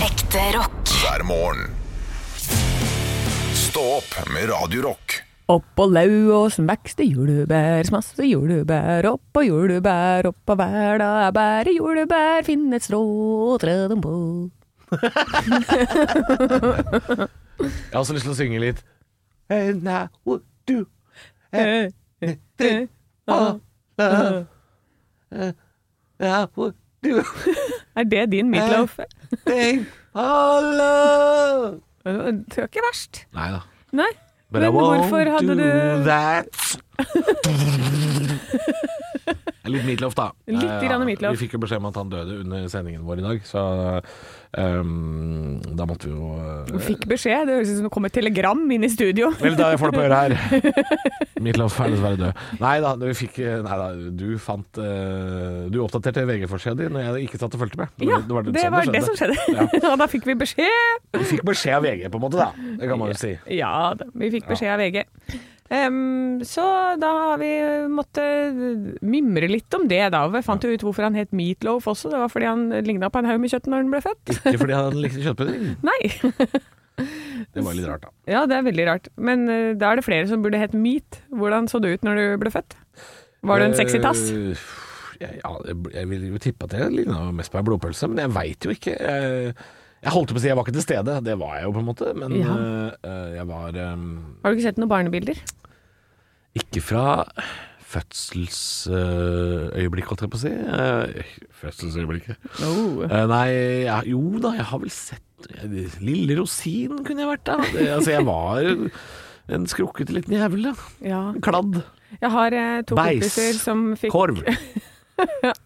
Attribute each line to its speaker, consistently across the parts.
Speaker 1: Ekte rock.
Speaker 2: hver morgen. Stå opp med Radio Rock.
Speaker 3: Opp og lauåsen vokste jordbær, smasse jordbær, opp og jordbær, opp og hver dag er bære jordbær, finn et strå og tre dem på.
Speaker 4: Jeg har også lyst til å synge litt. Eh,
Speaker 3: Er det din
Speaker 4: Eh.
Speaker 3: meatloaf?
Speaker 4: Nei
Speaker 3: Det var ikke verst.
Speaker 4: da.
Speaker 3: Nei. Men hvorfor hadde du-
Speaker 4: that. Litt Meatloaf, da.
Speaker 3: Litt
Speaker 4: Eh,
Speaker 3: grann Meatloaf.
Speaker 4: Vi fikk jo beskjed om at han døde under sendingen vår i dag, så ehm, da måtte vi jo eh,
Speaker 3: Fikk beskjed, det høres ut som det kom et telegram inn i studio.
Speaker 4: Vel, da jeg får det på øret her. Midtlof er dessverre død. Nei da, du fikk eh, Nei da, du fant eh, Du oppdaterte VG-forsida di når jeg ikke satt og fulgte med. Det var-
Speaker 3: Ja,
Speaker 4: det var
Speaker 3: det
Speaker 4: sånn
Speaker 3: var det som skjedde. Og da fikk vi beskjed.
Speaker 4: Du fikk beskjed av VG, på en måte, da. Det kan man jo si.
Speaker 3: Ja, da, vi fikk beskjed av VG. Em, så da har vi måttet mimre litt om det, da. Vi fant jo ut hvorfor han het Meatloaf også. Det var fordi han ligna på en haug med kjøtt når han ble født.
Speaker 4: Ikke fordi han likte kjøttpudding.
Speaker 3: Nei.
Speaker 4: Det var litt rart, da.
Speaker 3: Ja, det er veldig rart. Men eh, da er det flere som burde hett Meat. Hvordan så det ut når du ble født? Var du en sexy tass?
Speaker 4: Eh, Jeg, ja, jeg vil jo tippe at jeg ligna mest på ei blodpølse, men jeg veit jo ikke. Jeg, jeg holdt på å si jeg var ikke til stede, det var jeg jo på en måte, men
Speaker 3: Ja.
Speaker 4: eh, eh, jeg var eh,
Speaker 3: Har du ikke sett noen barnebilder?
Speaker 4: Ikke fra fødselsøyeblikk, holdt jeg på å si. Eh, Fødselsøyeblikket.
Speaker 3: Oh.
Speaker 4: Eh, Nei, ja, jo da, jeg har vel sett Lille Rosin kunne jeg vært, da. Det, altså, jeg var en skrukkete liten jævel, ja.
Speaker 3: Ja.
Speaker 4: Kladd.
Speaker 3: Jeg har eh, to
Speaker 4: Beis.
Speaker 3: kompiser som fikk
Speaker 4: Korv.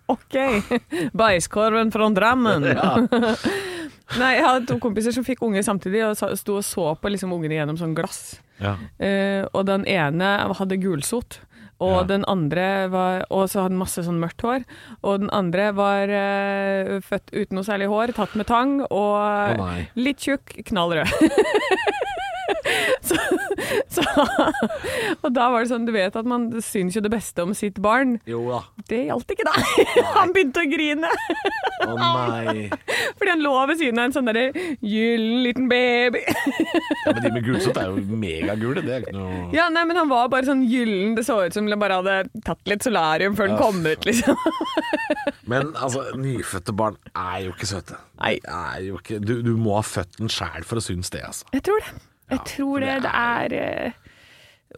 Speaker 3: Ok, bæsjkorven fra Drammen.
Speaker 4: Ja.
Speaker 3: Nei, jeg hadde to kompiser som fikk unger samtidig, og sa- sto og så på liksom ungene gjennom sånn glass.
Speaker 4: Ja.
Speaker 3: Eh, og den ene hadde gulsot, og
Speaker 4: Ja.
Speaker 3: den andre var Og så hadde den masse sånn mørkt hår. Og den andre var eh, født uten noe særlig hår, tatt med tang, og
Speaker 4: Å nei.
Speaker 3: litt tjukk, knall rød. så, så, og da var det sånn, du vet at man syns jo det beste om sitt barn.
Speaker 4: Jo da.
Speaker 3: Det gjaldt ikke deg. Han begynte å grine
Speaker 4: Å nei.
Speaker 3: fordi han lå ved siden av en sånn derre gyllen liten baby.
Speaker 4: Ja, men de med gulsott er jo megagule, det er ikke noe
Speaker 3: Ja, nei, men han var bare sånn gyllen. Det så ut som han bare hadde tatt litt solarium før han kom ut, liksom.
Speaker 4: Men altså, nyfødte barn er jo ikke søte.
Speaker 3: Nei.
Speaker 4: Er jo ikke, du, du må ha født den sjæl for å synes det, altså.
Speaker 3: Jeg tror det. Jeg tror det. Det er eh,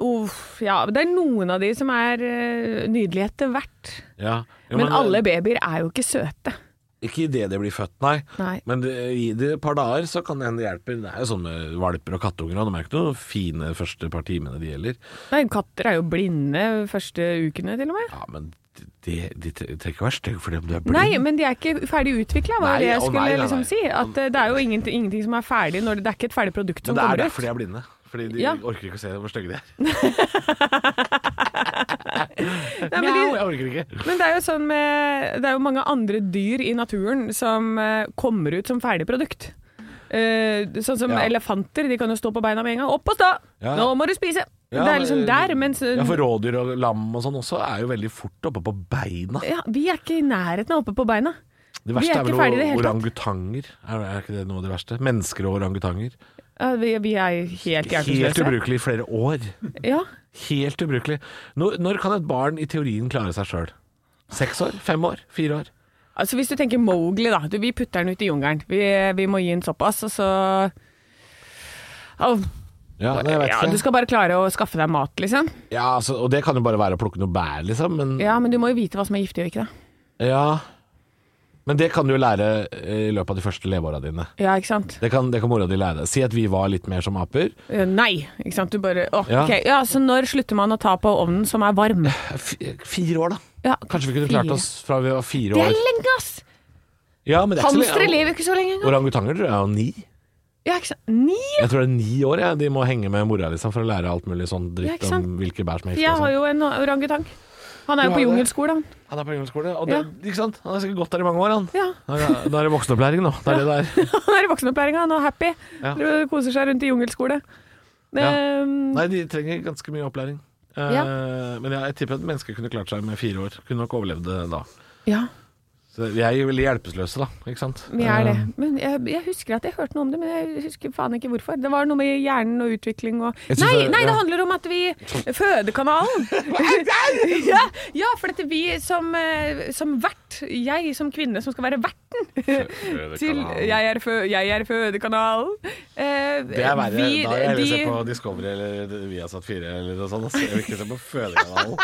Speaker 3: Uff, ja. Det er noen av de som er eh, nydelige etter hvert.
Speaker 4: Ja. Jo,
Speaker 3: Men alle babyer er jo ikke søte.
Speaker 4: Ikke idet de blir født, nei.
Speaker 3: Nei.
Speaker 4: Men det, gi det et par dager, så kan det hende det hjelper. Det er jo sånn med valper og kattunger, og de er jo ikke noen fine første par timene det gjelder.
Speaker 3: Nei, katter er jo blinde første ukene, til og med.
Speaker 4: Ja, men de, de tre- trenger ikke å være stygge fordi om du er blind.
Speaker 3: Nei, men de er ikke ferdig utvikla, var
Speaker 4: Nei,
Speaker 3: det jeg
Speaker 4: å,
Speaker 3: skulle
Speaker 4: nei, nei, nei.
Speaker 3: liksom si. At eh, det er jo ingenting, ingenting som er ferdig når det, det er ikke et ferdig produkt som
Speaker 4: Men det er
Speaker 3: kommer ut.
Speaker 4: derfor de er blinde. Fordi de
Speaker 3: Ja.
Speaker 4: orker ikke å se hvor stygge de er.
Speaker 3: Nei, men,
Speaker 4: Mjau,
Speaker 3: de,
Speaker 4: jeg orker ikke.
Speaker 3: men det er jo sånn med Det er jo mange andre dyr i naturen som eh, kommer ut som ferdig produkt. Eh, sånn som
Speaker 4: Ja.
Speaker 3: elefanter, de kan jo stå på beina med en gang. Opp og stå!
Speaker 4: Ja.
Speaker 3: Nå må du spise!
Speaker 4: Ja,
Speaker 3: det er liksom
Speaker 4: men-
Speaker 3: der, mens
Speaker 4: Ja, for rådyr og lam og sånn også er jo veldig fort oppe på beina.
Speaker 3: ja, vi er ikke i nærheten av oppe på beina. Vi
Speaker 4: Det
Speaker 3: er
Speaker 4: verste er,
Speaker 3: ikke
Speaker 4: vel
Speaker 3: ferdig i det hele tatt.
Speaker 4: orangutanger. Er, er ikke det noe av det verste? Mennesker og orangutanger.
Speaker 3: Ja, vi, vi er helt
Speaker 4: Helt
Speaker 3: hjelpeløse.
Speaker 4: ubrukelig i flere år.
Speaker 3: Ja.
Speaker 4: Helt ubrukelig. Når, når kan et barn i teorien klare seg sjøl? Seks år? Fem år? Fire år?
Speaker 3: Altså, hvis du tenker Mowgli, da. Du, vi putter den ut i jungelen. Vi, vi må gi den såpass, og så Au.
Speaker 4: Ja, nei, jeg vet
Speaker 3: ja,
Speaker 4: ikke.
Speaker 3: Du skal bare klare å skaffe deg mat, liksom.
Speaker 4: ja altså, og det kan jo bare være å plukke noe bær, liksom. Men, ja.
Speaker 3: Ja, men du må jo vite hva som er giftig og ikke, da.
Speaker 4: men det kan du jo lære eh, i løpet av de første leveåra dine.
Speaker 3: Ja, ikke sant.
Speaker 4: Det kan, det kan mora di lære deg. Si at vi var litt mer som aper.
Speaker 3: Eh, Nei, ikke sant. Du bare Å,
Speaker 4: Ja.
Speaker 3: ok. Ja, så når slutter man å ta på ovnen som er varm?
Speaker 4: F fire år, da.
Speaker 3: Ja,
Speaker 4: Kanskje vi kunne klart oss fra vi var fire
Speaker 3: Det er
Speaker 4: år.
Speaker 3: lenge, ass!
Speaker 4: Ja, men det er ikke så lenge.
Speaker 3: Hamstere lever ikke så lenge engang.
Speaker 4: Orangutanger tror jeg er ni.
Speaker 3: Ja, ikke sant. Ni?
Speaker 4: Jeg tror det er ni år ja. de må henge med mora liksom, for å lære alt mulig sånn
Speaker 3: Ja,
Speaker 4: dritt
Speaker 3: ikke sant?
Speaker 4: om hvilke bær som er giftige.
Speaker 3: Jeg
Speaker 4: og sånn.
Speaker 3: har jo en orangutang. Han er jo på
Speaker 4: Du har det.
Speaker 3: jungelskole, han.
Speaker 4: Han er på ungdomsskole, og
Speaker 3: Ja.
Speaker 4: det, ikke sant? han har sikkert gått der i mange år. han
Speaker 3: Ja.
Speaker 4: Da er det- da er det voksenopplæring nå. Det er det det er.
Speaker 3: Han er i voksenopplæringa, han er happy.
Speaker 4: Ja.
Speaker 3: Driver og Koser seg rundt i jungelskole.
Speaker 4: Ja.
Speaker 3: Ehm,
Speaker 4: Nei, de trenger ganske mye opplæring. Eh, Men jeg, jeg tipper at mennesker kunne klart seg med fire år. Kunne nok overlevd det da.
Speaker 3: ja.
Speaker 4: Så vi er jo veldig hjelpeløse, da. Ikke sant?
Speaker 3: Vi er det.
Speaker 4: Eh,
Speaker 3: Men jeg, jeg husker at jeg hørte noe om det, men jeg husker faen ikke hvorfor. Det var noe med hjernen og utvikling og
Speaker 4: Jeg synes
Speaker 3: Nei,
Speaker 4: det-
Speaker 3: nei, det
Speaker 4: ja. Sånn.
Speaker 3: handler om at vi Fødekanalen! ja, ja, for dette vi som, eh, som vert, jeg som kvinne som skal være
Speaker 4: Eh,
Speaker 3: verten til jeg er, fø, jeg er fødekanalen. Eh,
Speaker 4: Det er verre.
Speaker 3: vi-
Speaker 4: da vil jeg heller se
Speaker 3: de-
Speaker 4: på Discovery eller Viasat 4 eller noe sånt. ass. Jeg vil ikke se på Fødekanalen.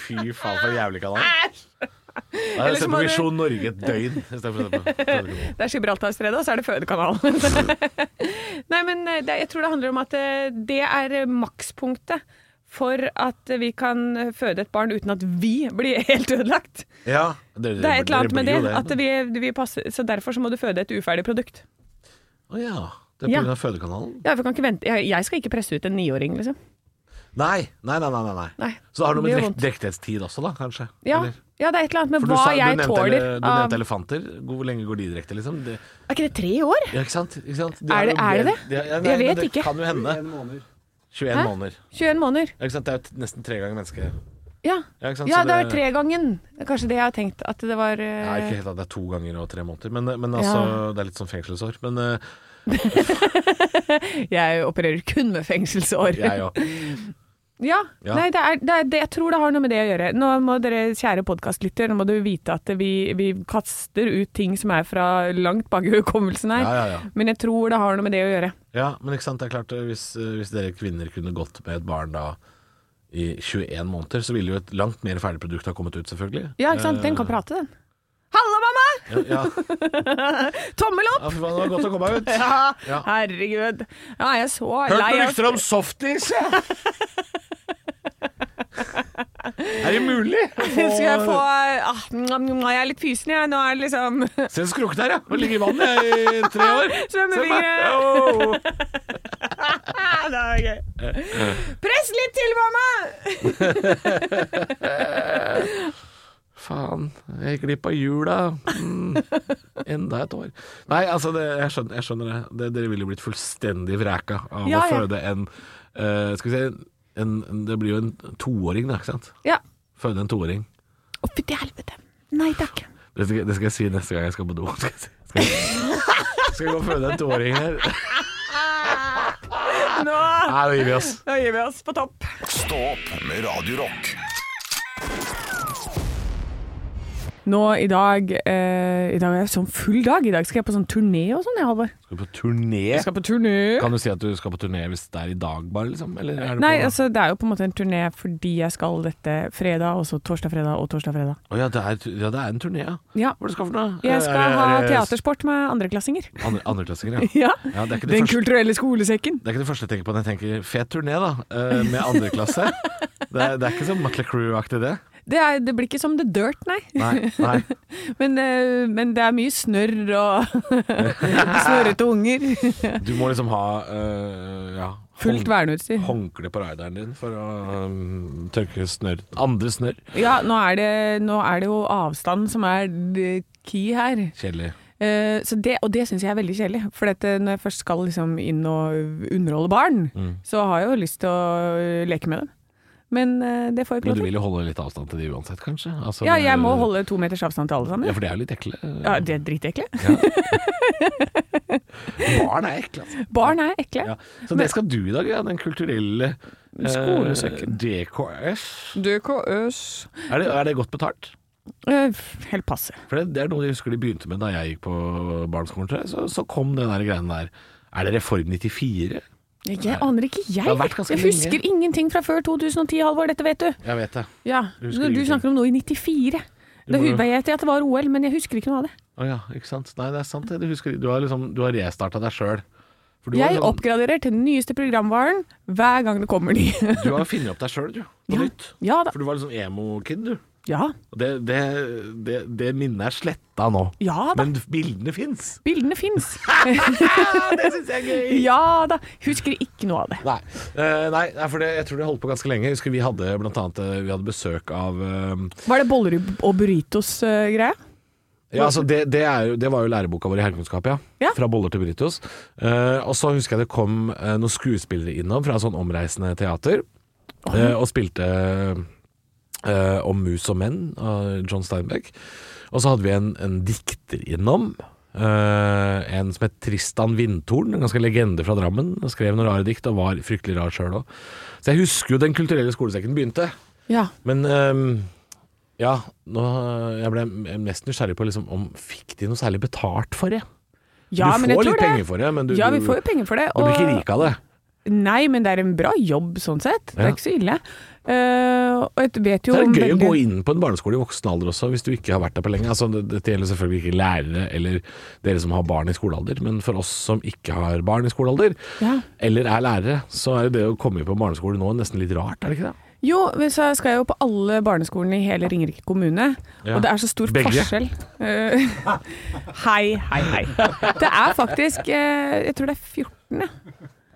Speaker 4: Fy faen, for en jævlig kanal. Da har
Speaker 3: Eller
Speaker 4: jeg
Speaker 3: så
Speaker 4: sett
Speaker 3: må
Speaker 4: på
Speaker 3: du-
Speaker 4: Visjon Norge et døgn istedenfor å se på Fødekanalen.
Speaker 3: Det er Gibraltarstredet, og så er det fødekanalen. Nei, men eh, det, jeg tror det handler om at eh, det er eh, makspunktet for at eh, vi kan eh, føde et barn uten at vi blir helt ødelagt.
Speaker 4: Ja, dere-
Speaker 3: Det er et eller annet
Speaker 4: dere
Speaker 3: med det.
Speaker 4: blir jo
Speaker 3: At vi, vi passer, så derfor så må du føde et uferdig produkt.
Speaker 4: Å ja. Det er
Speaker 3: Ja.
Speaker 4: pga. Fødekanalen?
Speaker 3: Ja, for jeg kan ikke vente. Jeg, jeg skal ikke presse ut en niåring, liksom.
Speaker 4: Nei, nei, nei. nei, nei, nei.
Speaker 3: Nei.
Speaker 4: Så det har noe
Speaker 3: Det
Speaker 4: med
Speaker 3: gjør
Speaker 4: drekt,
Speaker 3: vondt.
Speaker 4: drektighetstid også, da, kanskje?
Speaker 3: Ja,
Speaker 4: Eller?
Speaker 3: ja, det er et eller annet med
Speaker 4: For du,
Speaker 3: hva
Speaker 4: sa, du,
Speaker 3: jeg
Speaker 4: nevnte,
Speaker 3: tåler
Speaker 4: ele- du
Speaker 3: av
Speaker 4: nevnte elefanter. Hvor lenge går de direkte, liksom? Det,
Speaker 3: Er ikke det tre år?
Speaker 4: ja, ikke sant? Ikke sant?
Speaker 3: Er det-
Speaker 4: har jo
Speaker 3: er det
Speaker 4: ble-
Speaker 3: det?
Speaker 4: de har- ja,
Speaker 3: Jeg
Speaker 4: nei, men
Speaker 3: vet
Speaker 4: det
Speaker 3: ikke.
Speaker 4: kan jo hende.
Speaker 1: 21 måneder.
Speaker 4: 21
Speaker 3: Hæ?
Speaker 4: måneder.
Speaker 3: 21 måneder.
Speaker 4: Ja, ikke sant? Det er jo nesten tre ganger menneske.
Speaker 3: Ja,
Speaker 4: Ja, ikke sant?
Speaker 3: ja
Speaker 4: Så
Speaker 3: det er tregangen. Det er Kanskje det jeg har tenkt. At det var eh,
Speaker 4: Nei, ikke helt at det er to ganger og tre måneder, men, men altså,
Speaker 3: Ja.
Speaker 4: det er litt sånn fengselsår. Men eh,
Speaker 3: Jeg opererer kun med fengselsår.
Speaker 4: jeg òg.
Speaker 3: Ja.
Speaker 4: Ja.
Speaker 3: Nei, det er, det er, det, jeg tror det har noe med det å gjøre. Nå må dere, kjære podkastlytter, nå må du vite at vi, vi kaster ut ting som er fra langt bak i hukommelsen her.
Speaker 4: Ja, ja, ja.
Speaker 3: Men jeg tror det har noe med det å gjøre.
Speaker 4: Ja, men ikke sant, det er klart, eh, hvis, eh, hvis dere kvinner kunne gått med et barn da i 21 måneder, så ville jo et langt mer ferdig produkt ha kommet ut, selvfølgelig.
Speaker 3: Ja, ikke sant. Den
Speaker 4: Eh.
Speaker 3: kan prate, den. Hallo, mamma!
Speaker 4: Ja, ja. ja,
Speaker 3: Tommel opp!
Speaker 4: for faen, det var godt å komme ut. Ja.
Speaker 3: Herregud. Ja, jeg er så
Speaker 4: Hørt
Speaker 3: lei
Speaker 4: noen
Speaker 3: av
Speaker 4: rykter om softis, jeg! er det mulig?
Speaker 3: Skal jeg få ah, Jeg er litt fysen, jeg. Nå er det liksom
Speaker 4: Se en skrukk der, ja. Hun ligger i vannet jeg, i tre år.
Speaker 3: Svømmefingre.
Speaker 4: Svømmer.
Speaker 3: Ah, det er gøy. Press litt til, mamma!
Speaker 4: Faen, jeg gikk glipp av jula. Mm. Enda et år. Nei, altså, det, jeg, skjønner, jeg skjønner det. det. Dere ville jo blitt fullstendig vreka av
Speaker 3: Ja,
Speaker 4: å
Speaker 3: ja.
Speaker 4: føde en eh, Skal vi si en, en, Det blir jo en toåring, da, ikke sant?
Speaker 3: Ja.
Speaker 4: Føde en toåring.
Speaker 3: Å, fytti helvete. Nei takk.
Speaker 4: Det skal, det skal jeg si neste gang jeg skal på do. Skal jeg, si. skal jeg, skal jeg gå og føde en toåring her?
Speaker 3: Nå,
Speaker 4: Nei, nå gir vi oss.
Speaker 3: nå gir vi oss på topp.
Speaker 2: Stå opp med Radio Rock.
Speaker 3: Nå i dag eh, I dag er jeg sånn full dag. I dag skal jeg på sånn turné og sånn, jeg, Halvor.
Speaker 4: Skal du på turné?
Speaker 3: Jeg skal på turné.
Speaker 4: Kan du si at du skal på turné hvis det er i dag, bare? liksom? Eller er det
Speaker 3: Nei,
Speaker 4: på,
Speaker 3: altså det er jo på en måte en turné fordi jeg skal dette fredag, og så torsdag, fredag og torsdag, fredag.
Speaker 4: Å ja, det er, ja, det er en turné, ja.
Speaker 3: Ja.
Speaker 4: Hva er det du skal for noe?
Speaker 3: Jeg
Speaker 4: Er
Speaker 3: skal
Speaker 4: det-
Speaker 3: ha
Speaker 4: er det
Speaker 3: teatersport med andreklassinger.
Speaker 4: Andre, andreklassinger, ja.
Speaker 3: Ja.
Speaker 4: ja det, er ikke det,
Speaker 3: Den
Speaker 4: første,
Speaker 3: kulturelle skolesekken.
Speaker 4: det er ikke det første jeg tenker på når jeg tenker fet turné, da. eh, Med andreklasse. Det, er- det er ikke sånn Mutley Crew-aktig, det.
Speaker 3: Det, er, det blir ikke som The Dirt, nei.
Speaker 4: Nei. nei.
Speaker 3: Men, eh, men det er mye snørr og snørrete unger.
Speaker 4: Du må liksom ha eh, ja,
Speaker 3: Fullt
Speaker 4: hånd-
Speaker 3: verneutstyr.
Speaker 4: håndkle på rideren din for å um, tørke snørr. Andre snørr.
Speaker 3: Ja, nå er, det, nå er det jo avstand som er the key her.
Speaker 4: Kjedelig.
Speaker 3: Eh, så det, og det syns jeg er veldig kjedelig. For dette, når jeg først skal liksom inn og underholde barn,
Speaker 4: Mm.
Speaker 3: så har jeg jo lyst til å eh, leke med dem. Men eh, det får jeg ikke
Speaker 4: Men du
Speaker 3: lov til.
Speaker 4: vil jo holde litt avstand til de uansett, kanskje? Altså,
Speaker 3: Ja, jeg må
Speaker 4: det-
Speaker 3: holde to meters avstand til alle sammen.
Speaker 4: Ja,
Speaker 3: Ja,
Speaker 4: for de er jo litt ekle.
Speaker 3: ja De er dritekle.
Speaker 4: Barn er ekle, altså.
Speaker 3: Barn er ekle.
Speaker 4: Ja. Så det skal du i dag, ja. Den kulturelle eh,
Speaker 3: Skolesøken.
Speaker 4: DKS.
Speaker 3: DKØs
Speaker 4: Er det, er det godt betalt?
Speaker 3: Eh, Helt passe.
Speaker 4: For det, det er noe jeg husker de begynte med da jeg gikk på barneskolen, tror jeg. Så, så kom den der greiene der. Er det Reform 94?
Speaker 3: Jeg, jeg aner ikke, jeg.
Speaker 4: har vært ganske
Speaker 3: Jeg husker
Speaker 4: lenge.
Speaker 3: ingenting fra før 2010, Halvor. Dette vet du.
Speaker 4: Jeg vet det.
Speaker 3: Ja,
Speaker 4: Jeg
Speaker 3: Du,
Speaker 4: husker
Speaker 3: du
Speaker 4: ingenting.
Speaker 3: snakker om noe i 94.
Speaker 4: Du
Speaker 3: Da
Speaker 4: må jo-
Speaker 3: vet jeg at det var OL, men jeg husker ikke noe av det.
Speaker 4: Å ja, ikke sant. Nei, det er sant. det. Du, husker, du har liksom Du har restarta deg sjøl. For du har,
Speaker 3: Jeg
Speaker 4: liksom-
Speaker 3: oppgraderer til den nyeste programvaren hver gang det kommer ny.
Speaker 4: du har funnet opp deg sjøl, du. På
Speaker 3: Ja.
Speaker 4: nytt.
Speaker 3: Ja da.
Speaker 4: For du var liksom emo-kid, du.
Speaker 3: Ja,
Speaker 4: Og Det, det, det, det minnet er sletta nå.
Speaker 3: ja da.
Speaker 4: Men bildene fins.
Speaker 3: Bildene fins.
Speaker 4: Det syns jeg er gøy.
Speaker 3: Ja da. Husker ikke noe av det.
Speaker 4: Nei, Eh, nei nei, for det, jeg tror det holdt på ganske lenge. Jeg husker Vi hadde blant annet eh, Vi hadde besøk av eh,
Speaker 3: Var det boller og burritos-greie?
Speaker 4: Ja, altså det, det, er jo, det var jo læreboka vår i herrekunnskap, ja.
Speaker 3: Ja.
Speaker 4: Fra boller til burritos. Eh, og så husker jeg det kom eh, noen skuespillere innom fra sånn omreisende teater eh, og spilte eh, om mus og menn av John Steinbeck. Og så hadde vi en, en dikter innom. eh, en som het Tristan Vindtorn, en ganske legende fra Drammen. Han Skrev noen rare dikt og var fryktelig rar sjøl òg. Så jeg husker jo Den kulturelle skolesekken begynte.
Speaker 3: Ja.
Speaker 4: Men ehm, ja, nå, jeg ble mest nysgjerrig på liksom, om fikk de noe særlig betalt for det?
Speaker 3: ja
Speaker 4: du
Speaker 3: men jeg
Speaker 4: får
Speaker 3: tror
Speaker 4: litt
Speaker 3: det.
Speaker 4: penger for det, men du,
Speaker 3: ja, vi
Speaker 4: du-
Speaker 3: får jo penger for det.
Speaker 4: du blir ikke rik av det.
Speaker 3: Nei, men det er en bra jobb sånn sett. Det
Speaker 4: Ja.
Speaker 3: er ikke så ille. Eh, og jeg vet jo
Speaker 4: Det er
Speaker 3: om
Speaker 4: gøy å
Speaker 3: veldig-
Speaker 4: gå inn på en barneskole i voksen alder også, hvis du ikke har vært der på lenge. Altså, det- dette gjelder selvfølgelig ikke lærere eller dere som har barn i skolealder, men for oss som ikke har barn i skolealder,
Speaker 3: Ja.
Speaker 4: eller er lærere, så er jo det å komme inn på barneskole nå nesten litt rart, er det ikke det?
Speaker 3: Jo, men så skal jeg jo på alle barneskolene i hele Ringerike kommune.
Speaker 4: Ja.
Speaker 3: Og det er så stor
Speaker 4: Begge.
Speaker 3: forskjell. Eh, hei, hei, hei. Det er faktisk eh, Jeg tror det er 14. ja.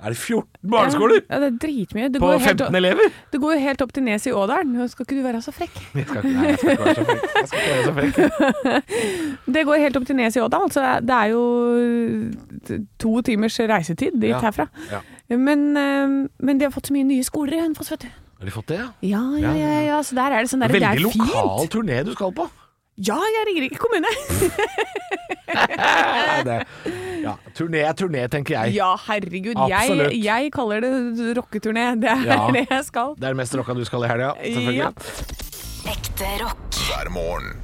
Speaker 4: Er det 14 barneskoler
Speaker 3: Ja, det er dritmye. Det,
Speaker 4: på
Speaker 3: går jo helt
Speaker 4: 15 elever?
Speaker 3: opp- det går jo helt opp til Nes i Ådalen. Nå Skal ikke du være så frekk?
Speaker 4: Jeg skal ikke, nei, jeg skal ikke være så frekk. Jeg skal ikke være så frekk.
Speaker 3: Det går helt opp til Nes i Ådalen, så det er jo t- to timers reisetid dit
Speaker 4: Ja.
Speaker 3: herfra.
Speaker 4: Ja.
Speaker 3: Men, eh, men de har fått så mye nye skoler i Hønefoss, vet du.
Speaker 4: Har de fått det, ja?
Speaker 3: Ja, ja,
Speaker 4: Ja, ja,
Speaker 3: ja,
Speaker 4: ja.
Speaker 3: ja. Så der er det sånn der, det er
Speaker 4: Veldig
Speaker 3: fint.
Speaker 4: lokal turné du skal på.
Speaker 3: Ja, jeg ringer ikke kommune.
Speaker 4: Ja, det, ja, turné er turné, tenker jeg.
Speaker 3: Ja, herregud. Jeg,
Speaker 4: Absolutt.
Speaker 3: jeg kaller det rocketurné. Det er
Speaker 4: Ja.
Speaker 3: det jeg skal.
Speaker 4: Det er det mest rocka du skal i helga, selvfølgelig.
Speaker 3: Ja.
Speaker 1: Ekte rock.
Speaker 2: hver morgen.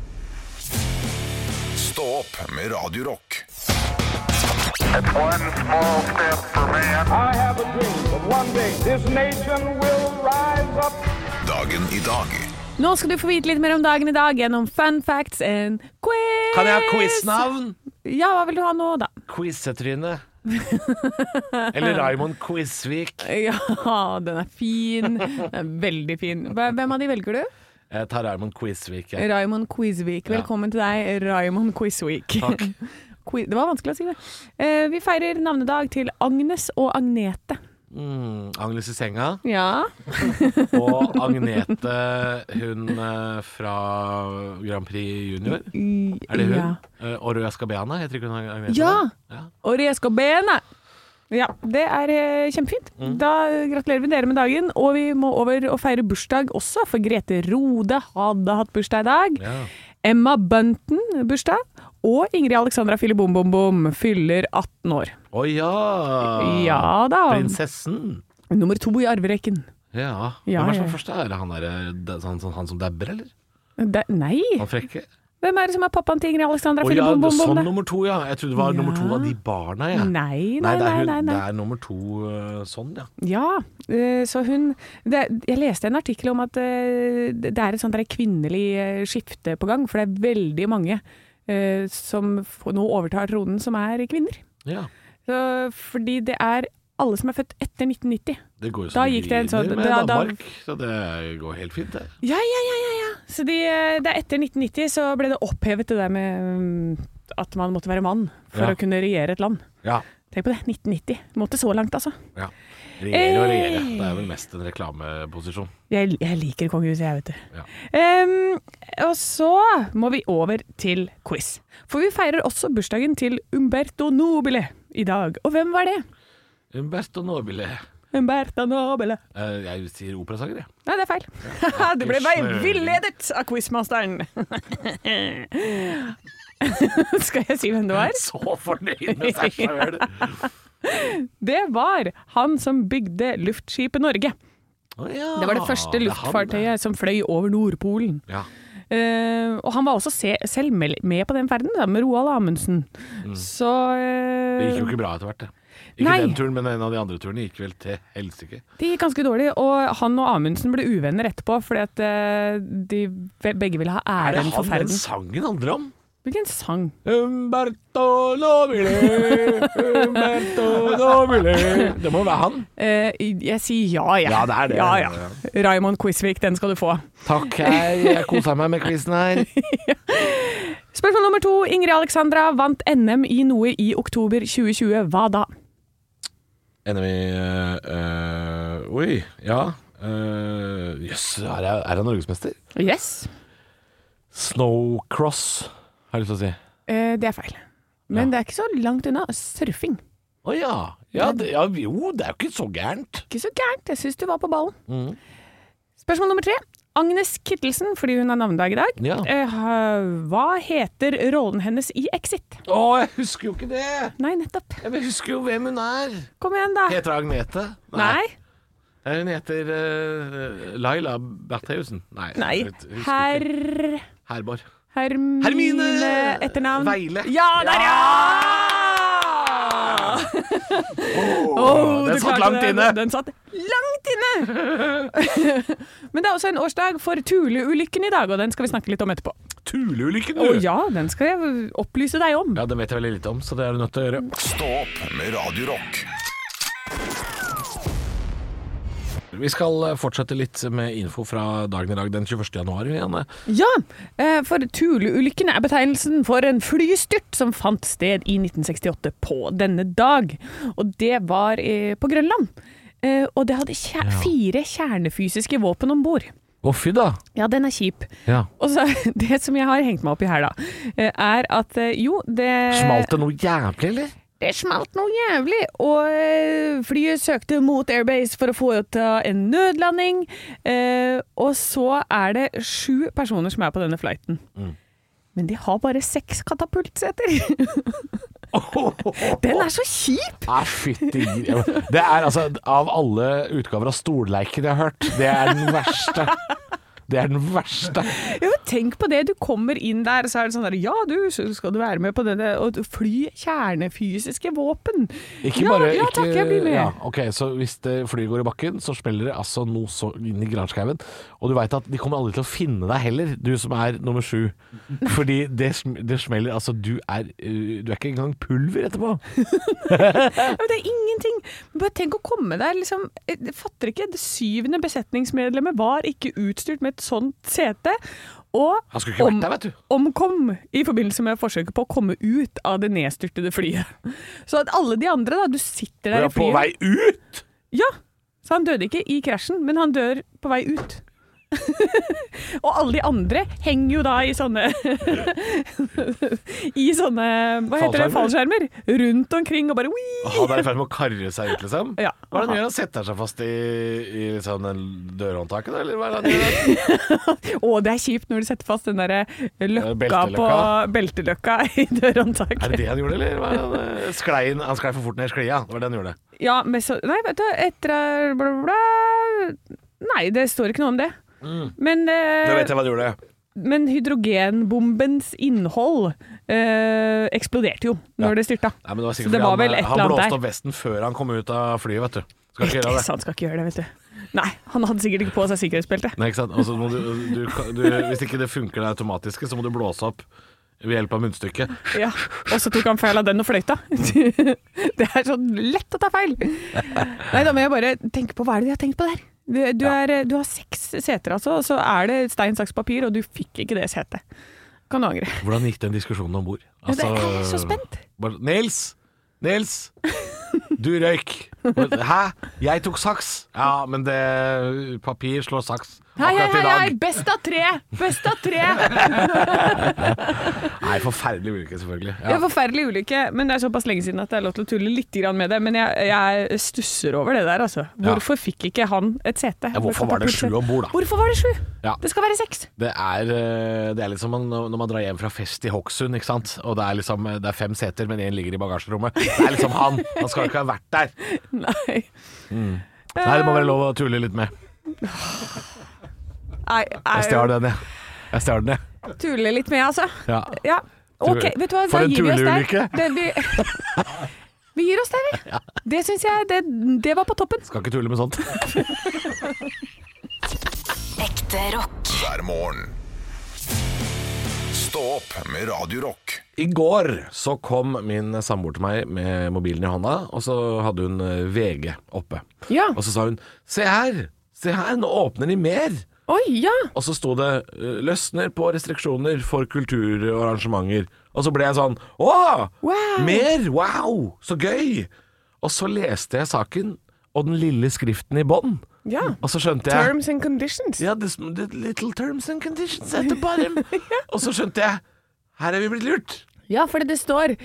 Speaker 2: Stå opp med Radio Rock.
Speaker 5: It's one small step for man.
Speaker 6: I have a dream that one day this nation will rise up.
Speaker 2: Dagen i dag
Speaker 3: Nå skal du få vite litt mer om dagen i dag gjennom fun facts and quiz.
Speaker 4: Kan jeg ha quiznavn?
Speaker 3: Ja, hva vil du ha nå, da?
Speaker 4: Quizetryne. Eller Raymond Quizvik.
Speaker 3: Ja, den er fin. Den er veldig fin. Hva- Hvem av de velger du?
Speaker 4: Jeg tar Raymond Quizvik. Jeg.
Speaker 3: Raymond Quizweek.
Speaker 4: Ja.
Speaker 3: Velkommen til deg, Raymond Quizweek.
Speaker 4: Takk.
Speaker 3: Qui- Det var vanskelig å si det. Eh, Vi feirer navnedag til Agnes og Agnete.
Speaker 4: Mm, Agnes i senga.
Speaker 3: Ja.
Speaker 4: Og Agnete, hun eh, fra Grand Prix Junior. Er det hun?
Speaker 3: Ja.
Speaker 4: Eh, Oro Escabeana, heter ikke hun Agnete?
Speaker 3: Ja.
Speaker 4: ja.
Speaker 3: og reske og benet. Ja, det er eh, kjempefint.
Speaker 4: Mm.
Speaker 3: Da eh, gratulerer vi dere med dagen. Og vi må over og feire bursdag også, for Grete Rode hadde hatt bursdag i dag.
Speaker 4: Ja.
Speaker 3: Emma Bunton bursdag. Og Ingrid Alexandra Filibom-bom-bom fyller 18 år.
Speaker 4: Å ja! Ah,
Speaker 3: Ja da.
Speaker 4: Prinsessen.
Speaker 3: Nummer to i arverekken.
Speaker 4: Ja.
Speaker 3: Ja,
Speaker 4: Hvem er det
Speaker 3: ja.
Speaker 4: som er først? da? Er det han, der, det- han, han, han som dabber, eller?
Speaker 3: Det, nei!
Speaker 4: Han frekke?
Speaker 3: Hvem er det som er pappaen til Ingrid Alexandra
Speaker 4: Å ja, det,
Speaker 3: Filibom-bom-bom?
Speaker 4: sånn
Speaker 3: da?
Speaker 4: nummer to, ja. Jeg trodde det var nummer to
Speaker 3: Ja.
Speaker 4: av de barna, jeg.
Speaker 3: Nei, nei,
Speaker 4: Nei, det er,
Speaker 3: nei.
Speaker 4: hun,
Speaker 3: nei, nei.
Speaker 4: det er nummer to øh, sånn, ja.
Speaker 3: Ja, eh, så hun det, Jeg leste en artikkel om at eh, det er et sånt der kvinnelig eh, skifte på gang, for det er veldig mange eh, som f- nå overtar tronen, som er kvinner.
Speaker 4: ja.
Speaker 3: Så, fordi det er alle som er født etter 1990.
Speaker 4: Det går jo
Speaker 3: Da
Speaker 4: som
Speaker 3: gikk det en sånn-
Speaker 4: griner med
Speaker 3: da- da-
Speaker 4: Danmark, så det går helt fint, det.
Speaker 3: Ja, ja, ja, ja, ja. Så de, eh, det er etter 1990 så ble det opphevet det der med mm, at man måtte være mann for
Speaker 4: Ja.
Speaker 3: å kunne regjere et land.
Speaker 4: Ja.
Speaker 3: Tenk på det, 1990. Måtte så langt, altså.
Speaker 4: ja. Regjere og regjere.
Speaker 3: Eh.
Speaker 4: Det er vel mest en reklameposisjon.
Speaker 3: Jeg, jeg liker kongehuset, jeg, vet du.
Speaker 4: Ja.
Speaker 3: Ehm, og så må vi over til quiz. For vi feirer også bursdagen til Umberto Nobile i dag. Og hvem var det?
Speaker 4: Umberto Nobile.
Speaker 3: Umberto Nobile.
Speaker 4: Eh, Jeg sier operasanger, jeg.
Speaker 3: Nei, det er feil. du ble bare
Speaker 4: snøring.
Speaker 3: villedet av quizmasteren. Skal jeg si hvem det var?
Speaker 4: Så fornøyd med seg sjøl!
Speaker 3: Det var han som bygde luftskipet Norge. Det var det første
Speaker 4: er han, Ah, det.
Speaker 3: luftfartøyet som fløy over Nordpolen.
Speaker 4: Ja.
Speaker 3: Eh, og han var også se, selv med, med på den ferden, da, med Roald Amundsen. Så eh,
Speaker 4: Mm. Det gikk jo ikke bra etter hvert, det. Ikke
Speaker 3: Nei.
Speaker 4: den turen, men en av de andre turene gikk vel til helsike.
Speaker 3: det gikk ganske dårlig. Og han og Amundsen ble uvenner etterpå, fordi at eh, de be- begge ville ha
Speaker 4: Er det
Speaker 3: æren for
Speaker 4: han altså? den
Speaker 3: ferden.
Speaker 4: sangen handler om?
Speaker 3: Hvilken sang?
Speaker 4: Umberto Nobile, Umberto Nobile Det må være han.
Speaker 3: Eh, jeg sier ja, jeg.
Speaker 4: Ja, det er det.
Speaker 3: Ja, ja. Raymond Quisvik, den skal du få.
Speaker 4: Takk, jeg, jeg kosa meg med quizen her.
Speaker 3: Spørsmål nummer to. Ingrid Alexandra vant NM i noe i oktober 2020. Hva da?
Speaker 4: Enemy øh, øh, Oi, ja. øh, Jøss, er jeg er jeg norgesmester?
Speaker 3: Yes.
Speaker 4: Snowcross, har jeg lyst til å si.
Speaker 3: Eh, det er feil. Men det er ikke så langt unna. Surfing.
Speaker 4: Å ja. Ja, det, ja. Jo, det er jo ikke så gærent. Mm.
Speaker 3: Ikke så gærent. Jeg syns du var på ballen. Spørsmål nummer tre. Agnes Kittelsen, fordi hun har navnedag i dag.
Speaker 4: Ja.
Speaker 3: Eh, ha- hva heter rollen hennes i Exit?
Speaker 4: Å, jeg husker jo ikke det!
Speaker 3: Nei, nettopp.
Speaker 4: Jeg husker jo hvem hun er.
Speaker 3: Kom igjen, da.
Speaker 4: Heter hun Agnete?
Speaker 3: Nei.
Speaker 4: Nei, Hun heter eh, Laila Bertheussen. Nei.
Speaker 3: Nei.
Speaker 4: jeg husker ikke.
Speaker 3: Herr
Speaker 4: Herborg.
Speaker 3: Hermine,
Speaker 4: Hermine
Speaker 3: etternavn.
Speaker 4: Weile.
Speaker 3: Ja, der, ja! Åh,
Speaker 4: den
Speaker 3: du
Speaker 4: satt
Speaker 3: klarte
Speaker 4: langt
Speaker 3: det.
Speaker 4: inne.
Speaker 3: Den satt langt inne! Men det er også en årsdag for Thule-ulykken i dag, og den skal vi snakke litt om etterpå.
Speaker 4: Tuleulykken,
Speaker 3: Å
Speaker 4: du!
Speaker 3: ja, den skal jeg opplyse deg om.
Speaker 4: Ja, det vet jeg veldig lite om, så det er du nødt til å gjøre.
Speaker 2: Stå opp med Radio Rock.
Speaker 4: Vi skal eh, fortsette litt med info fra dagen i dag, den 21. januar. Janne.
Speaker 3: Ja, eh, for Thule-ulykken er betegnelsen for en flystyrt som fant sted i 1968 på denne dag. Og det var eh, på Grønland. Eh, Og det hadde kjer fire kjernefysiske våpen om bord.
Speaker 4: Å, fy da!
Speaker 3: Ja, den er kjip.
Speaker 4: Ja.
Speaker 3: Og så det som jeg har hengt meg opp i her, da, eh, er at eh, jo, det
Speaker 4: Smalt det noe jævlig, eller?
Speaker 3: det smalt noe jævlig, og eh, flyet søkte mot airbase for å foreta en nødlanding. eh, Og så er det sju personer som er på denne flighten. Men de har bare seks katapultseter! Den er så kjip!
Speaker 4: Nei, fytti gri- Det er altså Av alle utgaver av stolleiken jeg har hørt, det er den verste. Det er den verste.
Speaker 3: Jo, tenk på det, du kommer inn der, og så er det sånn der Ja, du, så skal du være med på denne Og du- fly kjernefysiske våpen!
Speaker 4: Ikke
Speaker 3: ja,
Speaker 4: bare
Speaker 3: ja
Speaker 4: ikke-
Speaker 3: takk, jeg blir med.
Speaker 4: Ja, ok, Så hvis det flyet går i bakken, så smeller det altså noe så inn i granskauen. Og du veit at de kommer aldri til å finne deg heller, du som er nummer sju. Fordi det, sm- det smeller Altså, du er, øh, du er ikke engang pulver etterpå.
Speaker 3: Ja, men det er ingenting. Men bare tenk å komme der, liksom. Jeg fatter ikke. Det syvende besetningsmedlemmet var ikke utstyrt med et sånt sete. Og
Speaker 4: Han skulle ikke vært der, vet du.
Speaker 3: omkom i forbindelse med forsøket på å komme ut av det nedstyrtede flyet. Så at alle de andre, da. Du sitter
Speaker 4: Du
Speaker 3: der
Speaker 4: er
Speaker 3: i
Speaker 4: på
Speaker 3: flyet.
Speaker 4: vei ut!
Speaker 3: Ja, så han døde ikke i krasjen, men han dør på vei ut. og alle de andre henger jo da i sånne I sånne hva heter det, fallskjermer rundt omkring og bare Wii!
Speaker 4: Han er i ferd med å karre seg ut, liksom.
Speaker 3: Ja.
Speaker 4: Hva er det han gjør? Han setter seg fast i, i liksom den dørhåndtaket, eller hva er det han gjør?
Speaker 3: Å, det er kjipt når du setter fast den derre løkka
Speaker 4: Eh, Belteløkka.
Speaker 3: på belteløkka i
Speaker 4: Er det
Speaker 3: dørhåndtaket.
Speaker 4: det han gjorde, eller? Hva er det han, øh, sklei, inn- han sklei for fort ned i sklia, det var det han gjorde.
Speaker 3: Ja, men så Nei, vet du, etter eh, bla, bla, bla. Nei, det står ikke noe om det. Men, eh,
Speaker 4: Mm. Da vet jeg hva han gjorde.
Speaker 3: men hydrogenbombens innhold eh, eksploderte jo når det styrta.
Speaker 4: Nei, men det var
Speaker 3: Så
Speaker 4: sikkert
Speaker 3: det var
Speaker 4: fordi
Speaker 3: vel et
Speaker 4: han, han
Speaker 3: eller annet
Speaker 4: blåste
Speaker 3: der.
Speaker 4: opp vesten før han kom ut av flyet, vet du. Skal ikke gjøre
Speaker 3: Ikke
Speaker 4: det.
Speaker 3: sant, skal ikke gjøre det, vet du. Nei, han hadde sikkert ikke på seg sikkerhetsbeltet.
Speaker 4: Nei, ikke sant? Og så må du, du, du, hvis ikke det funker det automatiske, så må du blåse opp ved hjelp av munnstykket.
Speaker 3: Ja. Og så tok han feil av den og fløyta. Det er så lett å ta feil! Nei da, men jeg bare tenker på hva er det de har tenkt på der? Du, du, er, du har seks seter, altså, og så er det stein, saks, papir, og du fikk ikke det setet. Kan du angre.
Speaker 4: Hvordan gikk den diskusjonen om bord? Altså,
Speaker 3: Ja, det er jeg så spent.
Speaker 4: Bare, Nils! Nils! Du røyk. Hæ? Jeg tok saks. Ja, men det Papir slår saks.
Speaker 3: Hei, hei,
Speaker 4: Akkurat
Speaker 3: hei,
Speaker 4: i dag.
Speaker 3: hei! Best av tre! Best av tre!
Speaker 4: Nei, forferdelig ulykke, selvfølgelig.
Speaker 3: Det er
Speaker 4: Ja.
Speaker 3: forferdelig ulykke, men det er såpass lenge siden at det er lov til å tulle litt grann med det. Men jeg, jeg stusser over det der, altså. Hvorfor fikk ikke han et sete?
Speaker 4: Ja, hvorfor var det sju om bord, da?
Speaker 3: Hvorfor var det sju?
Speaker 4: Ja.
Speaker 3: Det skal være seks.
Speaker 4: Det er, eh, det er liksom man- når man drar hjem fra fest i Hokksund, ikke sant? og det er, liksom, det er fem seter, men én ligger i bagasjerommet. Det er liksom han! Han skal ikke ha vært der!
Speaker 3: Nei.
Speaker 4: Mm.
Speaker 3: Eh,
Speaker 4: Nei, det må være lov å tulle litt med.
Speaker 3: Nei,
Speaker 4: Jeg stjal den, jeg. Jeg stjal den, jeg.
Speaker 3: Tulle litt med, altså.
Speaker 4: Ja.
Speaker 3: Ja. OK, vet du hva.
Speaker 4: For
Speaker 3: da
Speaker 4: en
Speaker 3: gir vi oss der.
Speaker 4: tulleulykke.
Speaker 3: Det, vi, vi gir oss der, vi. Det syns jeg det, det var på toppen.
Speaker 4: Skal ikke tulle med sånt.
Speaker 1: Ekte rock.
Speaker 2: hver morgen. Stå opp med Radio Rock.
Speaker 4: I går så kom min samboer til meg med mobilen i hånda, og så hadde hun eh, VG oppe.
Speaker 3: Ja.
Speaker 4: Og så sa hun 'se her, se her, nå åpner de mer'.
Speaker 3: Oi, ja.
Speaker 4: Og så sto det eh, 'løsner på restriksjoner for kultur og arrangementer'. Og så ble jeg sånn Å!
Speaker 3: Wow.
Speaker 4: Mer! Wow! Så gøy! Og så leste jeg saken og den lille skriften i bånn.
Speaker 3: Ja.
Speaker 4: Og så skjønte jeg
Speaker 3: Terms and conditions.
Speaker 4: Ja, the, the little terms and conditions at the bottom. Og så skjønte jeg her er vi blitt lurt.
Speaker 3: Ja, for det står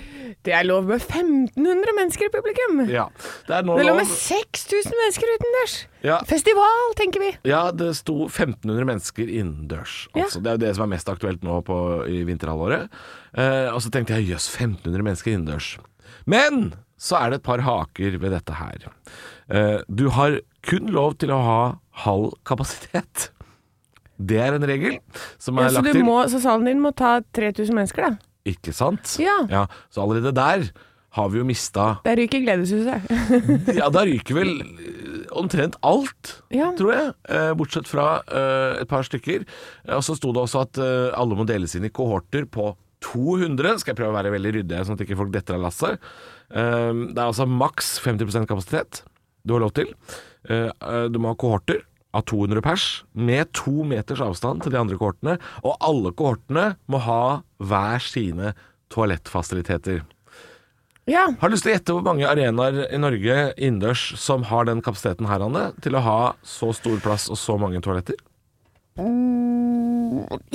Speaker 3: Det er lov med 1500 mennesker i publikum.
Speaker 4: Ja. Det er nå
Speaker 3: Det er lov
Speaker 4: lov
Speaker 3: med 6000 mennesker utendørs.
Speaker 4: Ja.
Speaker 3: Festival, tenker vi.
Speaker 4: Ja, det sto 1500 mennesker innendørs.
Speaker 3: Ja.
Speaker 4: Altså, Det er jo det som er mest aktuelt nå på, i vinterhalvåret. Eh, og så tenkte jeg jøss, 1500 mennesker innendørs. Men så er det et par haker ved dette her. Eh, du har kun lov til å ha halv kapasitet. Det er en regel som
Speaker 3: Ja,
Speaker 4: er
Speaker 3: så, du
Speaker 4: lagt til.
Speaker 3: må, så salen din må ta 3000 mennesker, da.
Speaker 4: Ikke sant?
Speaker 3: Ja.
Speaker 4: Så allerede der har vi jo mista
Speaker 3: Der ryker gledeshuset.
Speaker 4: Ja, da ryker vel eh, omtrent alt,
Speaker 3: Ja.
Speaker 4: tror jeg. eh, Bortsett fra eh, et par stykker. Eh, Og så sto det også at eh, alle må deles inn i kohorter på 200. Skal jeg prøve å være veldig ryddig, sånn at ikke folk detter av lasset. Eh, Det er altså maks 50 kapasitet du har lov til. Eh, eh, Du må ha kohorter av 200 pers, med to meters avstand til de andre kohortene. Og alle kohortene må ha hver sine toalettfasiliteter.
Speaker 3: Ja.
Speaker 4: Har lyst til å gjette hvor mange arenaer i Norge innendørs som har den kapasiteten her, Anne, til å ha så stor plass og så mange toaletter?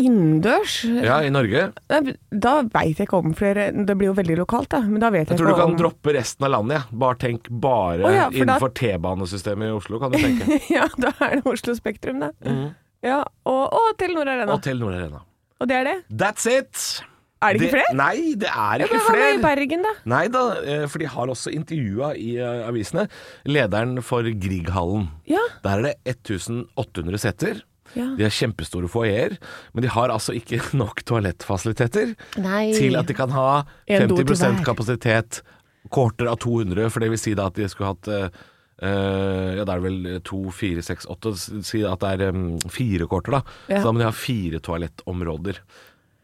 Speaker 3: Innendørs?
Speaker 4: Ja, i Norge.
Speaker 3: Nei, Da veit jeg ikke om flere Det blir jo veldig lokalt, da. Men da vet jeg,
Speaker 4: Jeg tror du
Speaker 3: ikke
Speaker 4: kan
Speaker 3: om
Speaker 4: droppe resten av landet. jeg. Bare tenk bare
Speaker 3: Å ja, for da-
Speaker 4: innenfor T-banesystemet i Oslo, kan du tenke.
Speaker 3: Ja, da er det Oslo Spektrum, da. Ja, og, og Telenor Arena.
Speaker 4: Mm. Og Telenor Arena.
Speaker 3: Og det er det?
Speaker 4: That's it!
Speaker 3: Er det ikke flere?
Speaker 4: Nei, det
Speaker 3: Men
Speaker 4: er ikke
Speaker 3: Hva med i
Speaker 4: flere.
Speaker 3: Bergen, da?
Speaker 4: Nei da, eh, for de har også intervjua i eh, avisene lederen for Grieghallen.
Speaker 3: Ja.
Speaker 4: Der er det 1800 seter.
Speaker 3: Ja.
Speaker 4: De har kjempestore foajeer, men de har altså ikke nok toalettfasiliteter
Speaker 3: Nei.
Speaker 4: til at de kan ha
Speaker 3: En do til
Speaker 4: 50
Speaker 3: hver.
Speaker 4: kapasitet kohorter av 200, for det vil si da at de skulle hatt eh, eh, ja, det er det vel to, fire, seks, åtte Si at det er em, fire kohorter, da.
Speaker 3: Ja.
Speaker 4: Så da må de ha fire toalettområder.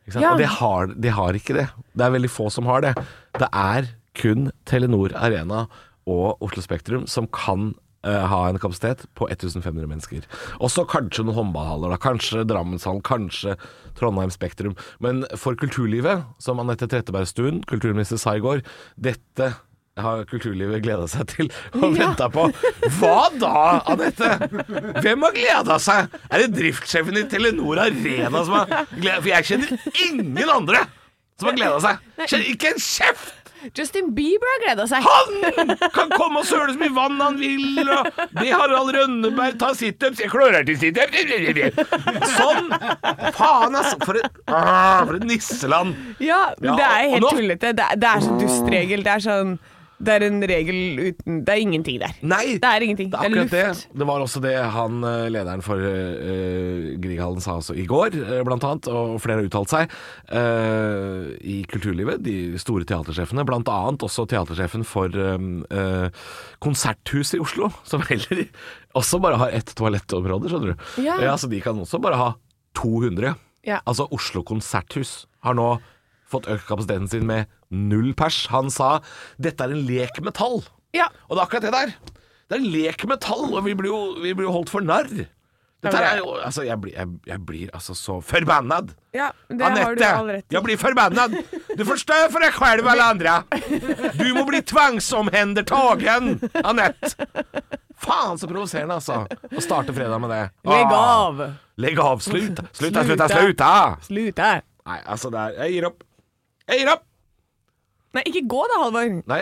Speaker 4: Ikke sant?
Speaker 3: Ja.
Speaker 4: Og de har, de har ikke det. Det er veldig få som har det. Det er kun Telenor Arena og Oslo Spektrum som kan eh, ha en kapasitet på 1500 mennesker. Og så kanskje noen håndballhaller, da. kanskje Drammenshallen, kanskje Trondheim Spektrum. Men for kulturlivet, som Anette Trettebergstuen, kulturminister, sa i går, dette har kulturlivet gleda seg til
Speaker 3: Ja.
Speaker 4: og venta på. Hva da, Anette? Hvem har gleda seg? Er det driftssjefen i Telenor Arena som har gleda For jeg kjenner ingen andre som har gleda seg. Kjenner ikke en kjeft!
Speaker 3: Justin Bieber har gleda seg.
Speaker 4: Han kan komme og søle så mye vann han vil, og be Harald Rønneberg ta situps. Jeg klorer til situps. Sånn! Faen, altså. For et, ah, for et nisseland.
Speaker 3: Ja, men
Speaker 4: Ja,
Speaker 3: det er
Speaker 4: og-
Speaker 3: helt
Speaker 4: og nå-
Speaker 3: tullete. Det er, det er så dust regel. Det er sånn Det er en regel uten Det er ingenting der.
Speaker 4: Nei,
Speaker 3: Det er ingenting. Det
Speaker 4: Det er
Speaker 3: er luft.
Speaker 4: akkurat det. Det var også det han, eh, lederen for eh, eh, Grieghallen sa også i går, eh, blant annet, og flere har uttalt seg eh, i kulturlivet, de store teatersjefene, blant annet også teatersjefen for eh, eh, Konserthuset i Oslo, som heller også bare har ett toalettområde, skjønner du.
Speaker 3: Ja.
Speaker 4: så de kan også bare ha 200.
Speaker 3: Ja.
Speaker 4: Altså Oslo Konserthus har nå fått økt kapasiteten sin med null pers. Han sa 'dette er en lek med tall'.
Speaker 3: Ja.
Speaker 4: Og det er akkurat det der. Det er en lek med tall, og vi blir jo, vi blir jo holdt for narr. Dette her er jo, altså, jeg, blir, jeg, jeg blir altså så forbannad.
Speaker 3: ja det har du all
Speaker 4: Anette,
Speaker 3: rett
Speaker 4: jeg blir forbannad. Du forstår for deg selv alle andre. Du må bli tvangsomhendertagen, Anette. Faen så provoserende, altså. Å starte fredag med det.
Speaker 3: Legg
Speaker 4: Ah,
Speaker 3: av!
Speaker 4: Legg av. Slutt. Slutta, slutta,
Speaker 3: Sluta.
Speaker 4: slutta.
Speaker 3: Slutt her.
Speaker 4: Nei, altså, det er Jeg gir opp. Jeg gir opp.
Speaker 3: Nei, ikke gå da, Halvor.
Speaker 4: Nei,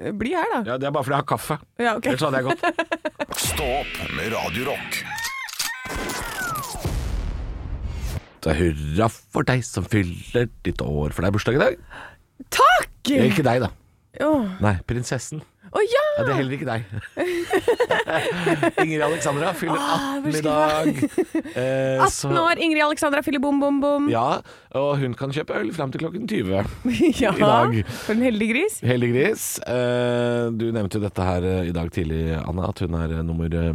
Speaker 4: eh,
Speaker 3: Bli her, da.
Speaker 4: ja, det er bare fordi jeg har kaffe.
Speaker 3: Ja, ok.
Speaker 4: Ellers hadde jeg gått.
Speaker 2: Stå opp med Radio Rock.
Speaker 4: Så hurra for deg som fyller ditt år, for det er bursdag i dag.
Speaker 3: Takk!
Speaker 4: Eh, Ikke deg, da.
Speaker 3: Å
Speaker 4: Nei, prinsessen.
Speaker 3: å ja!
Speaker 4: Ja, det er heller ikke deg. Ingrid Alexandra fyller 18 i
Speaker 3: Ah, bursdag.
Speaker 4: dag. Eh,
Speaker 3: 18 år, Ingrid Alexandra fyller bom, bom, bom.
Speaker 4: Ja, og hun kan kjøpe øl fram til klokken 20.
Speaker 3: Ja,
Speaker 4: i dag.
Speaker 3: For en heldig gris.
Speaker 4: Heldig gris. Eh, du nevnte jo dette her eh, i dag tidlig, Anne, at hun er eh, nummer eh,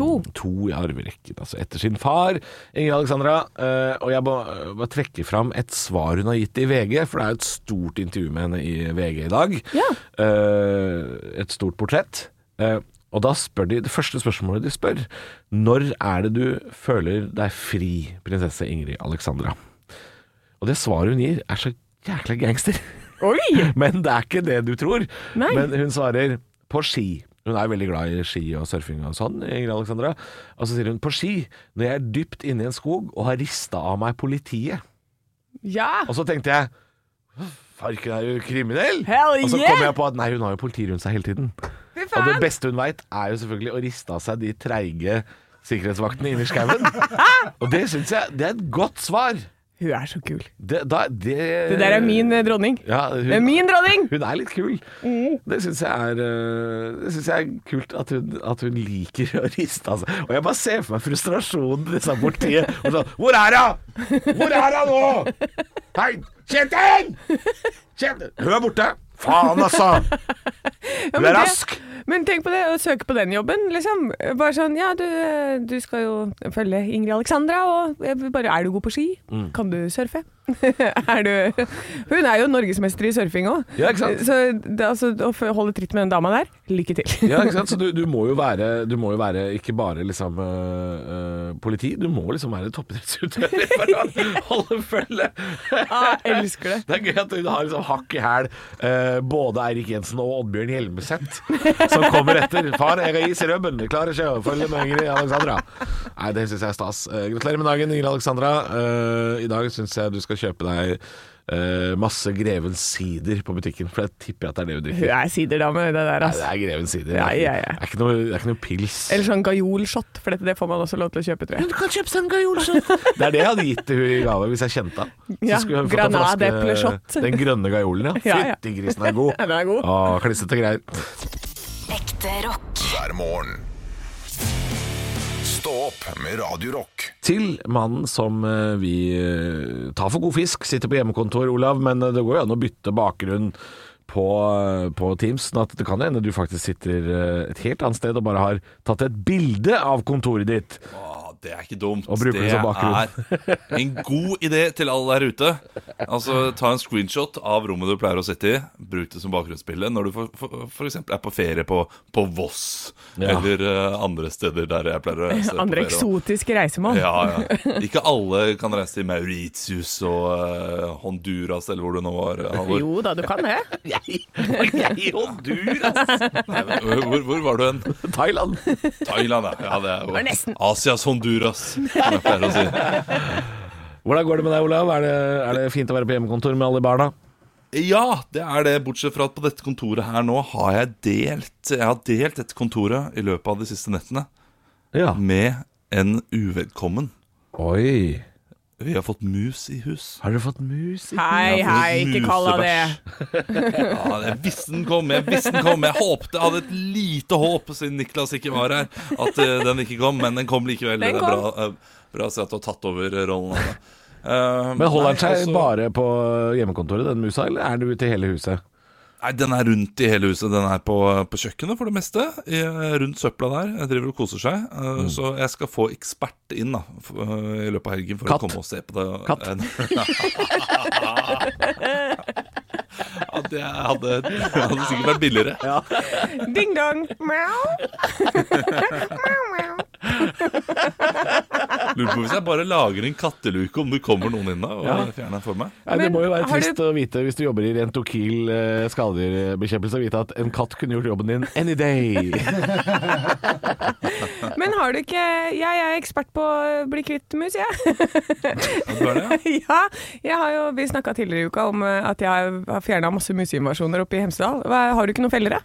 Speaker 3: To.
Speaker 4: to i arverekken. Altså etter sin far, Ingrid Alexandra. Eh, og jeg må eh, bare trekke fram et svar hun har gitt i VG, for det er jo et stort intervju med henne i VG i dag.
Speaker 3: Ja.
Speaker 4: Eh, et stort portrett. Eh, og da spør de Det første spørsmålet de spør, når er det du føler deg fri, prinsesse Ingrid Alexandra? Og det svaret hun gir, er så jækla gangster.
Speaker 3: Oi!
Speaker 4: Men det er ikke det du tror.
Speaker 3: Nei.
Speaker 4: Men hun svarer på ski. Hun er veldig glad i ski og surfing og sånn, Ingrid Alexandra. Og så sier hun på ski når jeg er dypt inne i en skog og har rista av meg politiet.
Speaker 3: Ja.
Speaker 4: Og så tenkte jeg Farken er jo kriminell!
Speaker 3: Hell
Speaker 4: Og så
Speaker 3: yeah!
Speaker 4: kommer jeg på at nei, hun har jo politi rundt seg hele tiden.
Speaker 3: Fy
Speaker 4: Og det
Speaker 3: faen!
Speaker 4: beste hun veit, er jo selvfølgelig å riste av seg de treige sikkerhetsvaktene inni skauen. Og det syns jeg det er et godt svar.
Speaker 3: Hun er så kul.
Speaker 4: Det, da, det,
Speaker 3: Det der er min eh, dronning.
Speaker 4: Ja, hun,
Speaker 3: Det er min dronning!
Speaker 4: hun er litt kul.
Speaker 3: Mm.
Speaker 4: Det syns jeg er øh, Det synes jeg er kult at hun, at hun liker å riste av seg. Og jeg bare ser for meg frustrasjonen til disse politiet. Og sånn Hvor er hun? Hvor er hun nå? Hei, Kjetil! Kjetil! Hun er borte. Faen, altså!
Speaker 3: Ja,
Speaker 4: Du er
Speaker 3: men det-
Speaker 4: rask.
Speaker 3: Men tenk på det, å søke på den jobben, liksom. Bare sånn, ja, du, du skal jo følge Ingrid Alexandra, og jeg bare, er du god på ski?
Speaker 4: Mm.
Speaker 3: Kan du surfe? er du Hun er jo norgesmester i surfing òg.
Speaker 4: Ja, ikke sant?
Speaker 3: Så det, altså, å få holde tritt med den dama der, lykke til.
Speaker 4: Ja, ikke sant? Så du, du, må jo være, du må jo være ikke bare liksom øh, øh, politi, du må liksom være toppidrettsutøver for å holde følge.
Speaker 3: Ah, jeg elsker det.
Speaker 4: Det er gøy at hun har liksom hakk i hæl øh, både Eirik Jensen og Oddbjørn Hjelmeset som kommer etter. 'Far, jeg har is i rømmen, jeg klarer ikke å følge med Ingrid Alexandra'. Nei, det syns jeg er stas. Eh, gratulerer med dagen, Ingrid Alexandra. Eh, I dag syns jeg du skal kjøpe deg eh, masse Grevens sider på butikken, for jeg tipper at det er det hun drikker.
Speaker 3: Hun er siderdame, det der,
Speaker 4: Nei, det
Speaker 3: altså.
Speaker 4: er Grevens sider.
Speaker 3: Ja, ja, ja.
Speaker 4: Det, er ikke noe, det er ikke noe pils.
Speaker 3: Eller sånn gajolshot, for dette, det får man også lov til å kjøpe, tror jeg.
Speaker 4: du kan kjøpe seg en gajolshot. det er det jeg hadde gitt til hun i gave hvis jeg kjente henne.
Speaker 3: Ja, granadepleshot.
Speaker 4: Den grønne gajolen, ja.
Speaker 3: Ja, ja.
Speaker 4: Fytti grisen, den er god.
Speaker 3: Ja, den er god.
Speaker 4: Å, klissete greier.
Speaker 1: Ekte rock.
Speaker 2: hver morgen. Stå opp med Radio Rock.
Speaker 4: Til mannen som eh, vi eh, tar for god fisk, sitter på hjemmekontor, Olav, men eh, det går jo an å bytte bakgrunn. På, eh, på Teams, sånn at det kan hende du faktisk sitter eh, et helt annet sted og bare har tatt et bilde av kontoret ditt.
Speaker 7: Ah, det er ikke dumt.
Speaker 4: Og bruker det som
Speaker 7: det er en god idé til alle der ute. Altså, Ta en screenshot av rommet du pleier å sitte i. Bruk det som bakgrunnsbilde når du for- for- for eksempel er på ferie på, på Voss.
Speaker 4: Ja.
Speaker 7: Eller eh, andre steder der jeg pleier å reise. på
Speaker 3: Andre
Speaker 7: ferie, da.
Speaker 3: eksotiske reisemål.
Speaker 7: Ja, ja. Ikke alle kan reise til Mauritius og eh, Honduras eller hvor du nå var. eh, Halvor.
Speaker 3: Jo da, du kan det.
Speaker 4: Jeg og du,
Speaker 7: Nei, men Hvor, hvor, hvor var du hen?
Speaker 4: Thailand.
Speaker 7: Thailand, ja. ja det
Speaker 3: var
Speaker 7: er
Speaker 3: nesten.
Speaker 7: jo Asias Honduras, som jeg pleier å si.
Speaker 4: Hvordan går det med deg, Olav? Er det, er det fint å være på hjemmekontor med alle barna?
Speaker 7: Ja, det er det. Bortsett fra at på dette kontoret her nå har jeg delt Jeg har delt dette kontoret i løpet av de siste nettene
Speaker 4: Ja.
Speaker 7: med en uvedkommen.
Speaker 4: Oi.
Speaker 7: Vi har fått mus i hus.
Speaker 4: Har dere fått mus? i-
Speaker 3: Hei,
Speaker 7: Jeg har
Speaker 3: hei,
Speaker 7: fått
Speaker 3: ikke kall henne det.
Speaker 7: musebæsj. Ja, jeg visste den kom, jeg visste den kom. Jeg håpte, jeg hadde et lite håp siden Niklas ikke var her, at eh, den ikke kom, men den kom likevel.
Speaker 3: Den
Speaker 7: det er bra, eh, bra å se at du har tatt over rollen. Anne. Eh,
Speaker 4: Men holder den
Speaker 7: nei,
Speaker 4: seg
Speaker 7: altså-
Speaker 4: bare på hjemmekontoret, den musa, eller er den ute i hele huset?
Speaker 7: Nei, Den er rundt i hele huset. Den er på, på kjøkkenet for det meste. I, rundt søpla der. Jeg driver og koser seg. Eh,
Speaker 4: Mm.
Speaker 7: Så jeg skal få ekspert inn da f- eh, i løpet av helgen for
Speaker 4: Katt.
Speaker 7: å komme og se på det.
Speaker 4: Katt.
Speaker 7: ja, det hadde, det hadde sikkert vært billigere.
Speaker 3: Ding dong. Mjau.
Speaker 7: Lurer på hvis jeg bare lager en katteluke, om det kommer noen inn da og fjerner den for meg.
Speaker 4: Nei, det
Speaker 3: Men
Speaker 4: må jo være
Speaker 3: har
Speaker 4: trist å vite hvis du jobber i rentokil eh, skadedyrbekjempelse, å vite at en katt kunne gjort jobben din any day.
Speaker 3: Men har du ikke Jeg er ekspert på å bli kvitt mus, jeg.
Speaker 7: Ja, du er det, ja.
Speaker 3: ja, jeg har jo, vi snakka tidligere i uka om eh, at jeg har fjerna masse museinvasjoner oppe i Hemsedal. Hva- Har du ikke noen feller, da?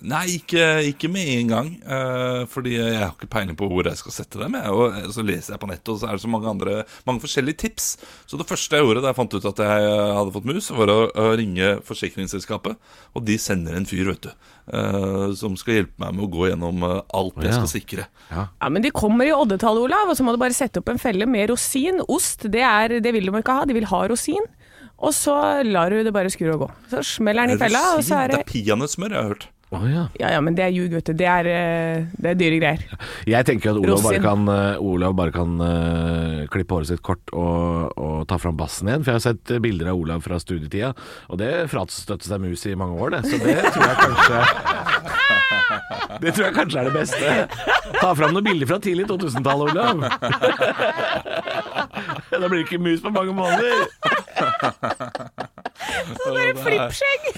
Speaker 7: Nei, ikke, ikke med en gang. eh, fordi jeg har ikke peiling på hvor jeg skal sette dem. Jeg, og eh, så leser jeg på nettet, og så er det så mange, andre, mange forskjellige tips. Så det første jeg gjorde da jeg fant ut at jeg eh, hadde fått mus, var å, å ringe forsikringsselskapet. Og de sender en fyr, vet du, eh, som skal hjelpe meg med å gå gjennom eh, alt jeg
Speaker 4: Ja.
Speaker 7: skal sikre.
Speaker 3: Ja, Men de kommer i oddetall, Olav, og så må du bare sette opp en felle med rosin. Ost, det, er, det vil de ikke ha. De vil ha rosin. Og så lar du det bare skure og gå. Så smeller den i fella, og så er
Speaker 7: det
Speaker 3: det
Speaker 7: er peanøttsmør, jeg har hørt.
Speaker 4: Å ja.
Speaker 3: Ja ja, men det er ljug, vet du. Det er, eh, det er dyre greier.
Speaker 4: Jeg tenker jo at Olav bare
Speaker 3: Rosin.
Speaker 4: kan, eh, Olav bare kan eh, klippe håret sitt kort og, og ta fram bassen igjen. For jeg har sett eh, bilder av Olav fra studietida, og det frastøtte seg mus i mange år, det. Så det tror jeg kanskje Det tror jeg kanskje er det beste. Ta fram noen bilder fra tidlig 2000-tall, Olav. da blir det ikke mus på mange måneder.
Speaker 3: Flippskjegg!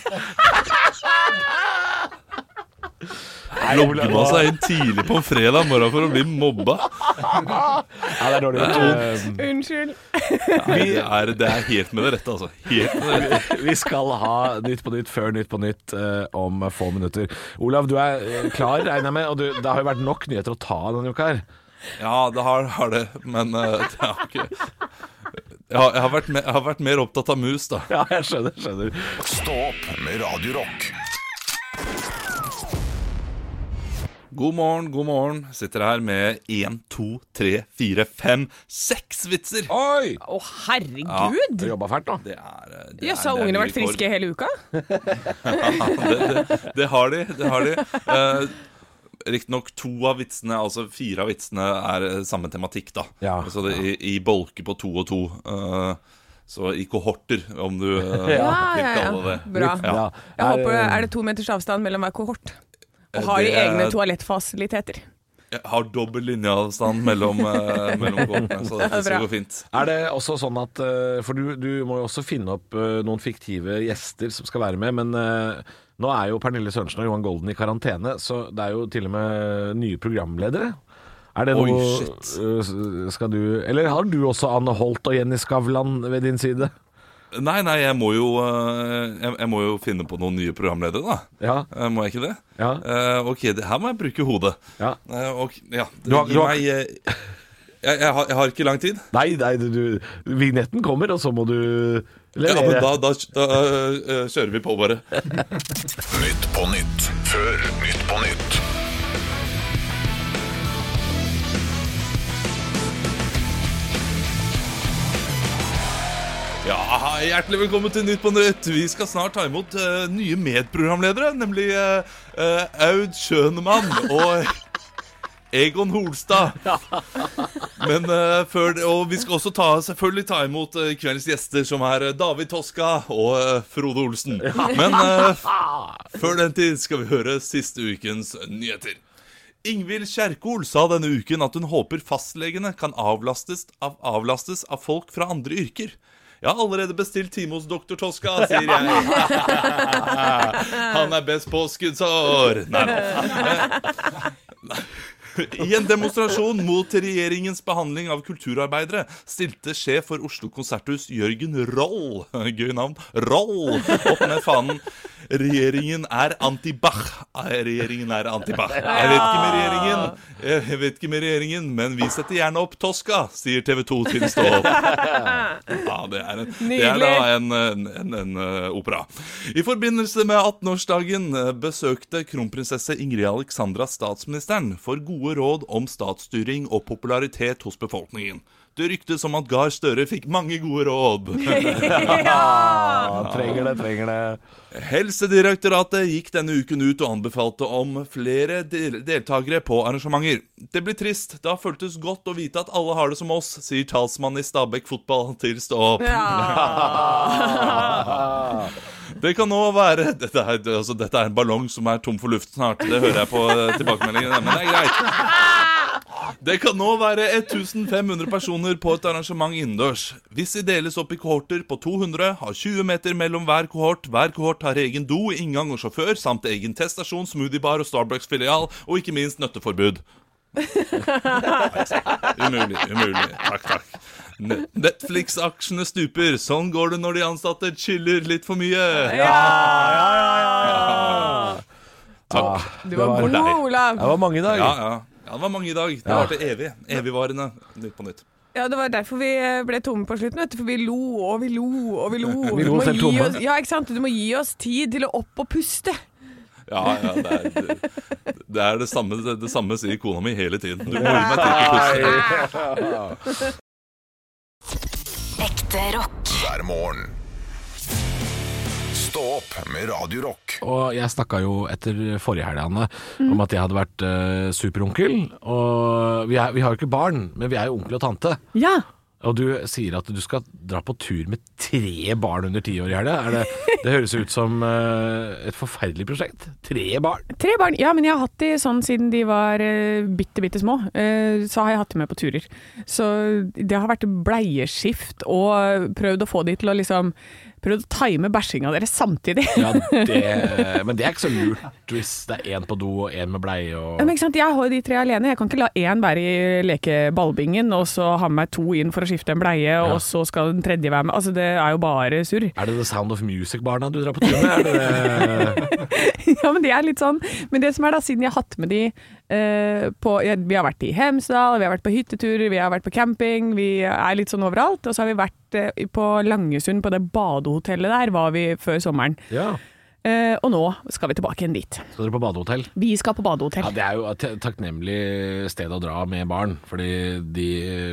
Speaker 7: altså Logger man seg inn tidlig på en fredag morgen for å bli mobba?
Speaker 4: Ja, det er dårlig gjort.
Speaker 3: Unnskyld.
Speaker 7: Nei, det, er, det er helt med det rette, altså. Helt med det rette.
Speaker 4: Eh, Vi skal ha Nytt på Nytt før Nytt på Nytt eh, om få minutter. Olav, du er eh, klar, regner jeg med. Og du, det har jo vært nok nyheter å ta av denne uka her.
Speaker 7: Ja, det har, har det, men eh, det har ikke jeg har, jeg, har vært mer, jeg har vært mer opptatt av mus, da.
Speaker 4: Ja, jeg skjønner, skjønner.
Speaker 2: Stå opp med Radio Rock.
Speaker 7: God morgen, god morgen. Sitter her med én, to, tre, fire, fem, seks vitser.
Speaker 4: Oi!
Speaker 3: Å, herregud!
Speaker 4: Du jobba fælt nå.
Speaker 7: Det er eh, det
Speaker 3: Jøss, har
Speaker 7: er- det er
Speaker 3: ungene
Speaker 7: ny
Speaker 3: vært friske hele uka?
Speaker 7: rekord. det, det, det har de. Det har de. Eh, Riktignok to av vitsene, altså fire av vitsene, er eh, samme tematikk, da.
Speaker 4: Ja.
Speaker 7: så det, i, i bolke på to og to. eh, så i kohorter, om du eh, vil kalle det det.
Speaker 3: Bra.
Speaker 7: Ja.
Speaker 3: Jeg
Speaker 4: Er,
Speaker 3: håper,
Speaker 4: eh,
Speaker 3: Er det to meters avstand mellom hver kohort? Og har de
Speaker 7: det er-
Speaker 3: egne toalettfasiliteter?
Speaker 7: Jeg har dobbel linjeavstand mellom, eh, mellom kohortene, så dette
Speaker 3: Bra.
Speaker 7: skal gå fint.
Speaker 4: Er det også sånn at eh, For du, du må jo også finne opp eh, noen fiktive gjester som skal være med, men eh, nå er jo Pernille Sørensen og Johan Golden i karantene, så det er jo til og med nye programledere. Er det
Speaker 7: Oi,
Speaker 4: noe
Speaker 7: shit.
Speaker 4: eh, Skal du Eller har du også Anne Holt og Jenny Skavlan ved din side?
Speaker 7: Nei, nei, jeg må jo, eh, jeg, jeg må jo finne på noen nye programledere, da.
Speaker 4: Ja.
Speaker 7: Eh, Må jeg ikke det?
Speaker 4: Ja.
Speaker 7: Eh, ok, det her må jeg bruke hodet.
Speaker 4: Ja.
Speaker 7: Eh, ok, ja.
Speaker 4: Du har-
Speaker 7: Gi
Speaker 4: du har-
Speaker 7: meg eh, jeg, jeg, har, jeg har ikke lang tid.
Speaker 4: Nei, nei, du, du Vignetten kommer, og så må du
Speaker 7: Ja,
Speaker 4: levere.
Speaker 7: men da, da, da eh, kjører vi på, bare.
Speaker 2: Nytt på nytt før Nytt på nytt.
Speaker 7: Ja, hei, Hjertelig velkommen til Nytt på Nytt. Vi skal snart ta imot eh, nye medprogramledere, nemlig eh, eh, Aud Schønemann og Egon Holstad. Men eh, før det, Og vi skal også ta, selvfølgelig ta imot eh, kveldens gjester, som er eh, David Toska og eh, Frode Olsen. Men eh, før den tid skal vi høre siste ukens nyheter. Ingvild Kjerkol sa denne uken at hun håper fastlegene kan avlastes av, avlastes av folk fra andre yrker. Jeg har allerede bestilt time hos doktor Toska, sier jeg. Han er best på skuddsår. Nei da. I en demonstrasjon mot regjeringens behandling av kulturarbeidere stilte sjef for Oslo konserthus Jørgen Roll Gøy navn. Roll opp med fanen. Regjeringen er anti-Bach. Nei, Regjeringen er anti-Bach. Jeg vet ikke med regjeringen, jeg vet ikke med regjeringen, men vi setter gjerne opp Toska, sier TV 2 til Stå opp. Ja, det er, en, det er da en, en, en, en eh, opera. I forbindelse med 18-årsdagen eh, besøkte kronprinsesse Ingrid Alexandra statsministeren for gode råd om statsstyring og popularitet hos befolkningen. Det ryktes om at Gahr Støre fikk mange gode råd.
Speaker 4: Ja, Ah, trenger det, trenger det.
Speaker 7: Helsedirektoratet gikk denne uken ut og anbefalte om flere del deltakere på arrangementer. Det blir trist. Det har føltes godt å vite at alle har det som oss, sier talsmann i Stabæk fotball til Stå opp.
Speaker 4: Ah.
Speaker 7: Det kan nå være dette er, altså, dette er en ballong som er tom for luft snart. Det hører jeg på eh, tilbakemeldingene, men det er greit. Det kan nå være 1500 personer på et arrangement innendørs. Hvis de deles opp i kohorter på 200, har 20 meter mellom hver kohort. Hver kohort har egen do, inngang og sjåfør, samt egen teststasjon, smoothiebar og Starbucks-filial, og ikke minst nøtteforbud. Umulig. umulig. Takk, takk. Ne- Netflix-aksjene stuper. Sånn går det når de ansatte chiller litt for mye. Takk.
Speaker 3: Du var god,
Speaker 4: Det
Speaker 7: var deg.
Speaker 4: Det
Speaker 3: Olav.
Speaker 4: var mange i dag.
Speaker 7: Ja, ja. ja, det var mange i dag. Det varte evig. Evigvarende. Nytt på nytt.
Speaker 3: Ja, Det var derfor vi eh, ble tomme på slutten, vet du. For vi lo og vi lo og vi lo.
Speaker 4: Vi
Speaker 3: Du
Speaker 4: lo
Speaker 3: må
Speaker 4: selv
Speaker 3: gi
Speaker 4: tomme.
Speaker 3: oss- Ja, ikke sant? Du må gi oss tid til å opp og puste.
Speaker 7: Ja, ja, det er det, det, er det samme det, det samme sier kona mi hele tiden. Du må gi meg tenkepuste.
Speaker 1: Ekte rock.
Speaker 2: hver morgen. Stå opp med Radio Rock.
Speaker 4: Og jeg snakka jo etter forrige helg, Anne, om at jeg hadde vært eh, superonkel. Og vi, er, vi har jo ikke barn, men vi er jo onkel og tante.
Speaker 3: Ja.
Speaker 4: Og du sier at du skal dra på tur med tre barn under ti år i helga. Er Det, det høres ut som eh, et forferdelig prosjekt. Tre barn.
Speaker 3: Tre barn. Ja, men jeg har hatt de sånn siden de var eh, bitte, bitte små. Eh, så har jeg hatt de med på turer. Så det har vært bleieskift og prøvd å få de til å liksom prøvd å time bæsjinga deres samtidig.
Speaker 4: Ja, det, men det er ikke så lurt hvis det er én på do og én med bleie og
Speaker 3: Ja, Men ikke sant? Jeg har jo de tre alene. Jeg kan ikke la én være i lekeballbingen, og så ha med meg to inn for å skifte en bleie, og så skal den tredje være med. Altså, det er jo bare surr.
Speaker 4: Er det The Sound of Music-barna du drar på tur med? Er det det?
Speaker 3: ja, men de er litt sånn. Men det som er da, siden jeg har hatt med de eh, på ja, Vi har vært i Hemsedal, vi har vært på hytteturer, vi har vært på camping, vi er litt sånn overalt. Og så har vi vært eh, på Langesund, på det badehotellet der var vi før sommeren.
Speaker 4: Ja.
Speaker 3: Eh, og nå skal vi tilbake igjen dit.
Speaker 4: Skal dere på badehotell?
Speaker 3: Vi skal på
Speaker 4: Ja,
Speaker 3: badehotell.
Speaker 4: Det er jo et takknemlig sted å dra med barn. Fordi de,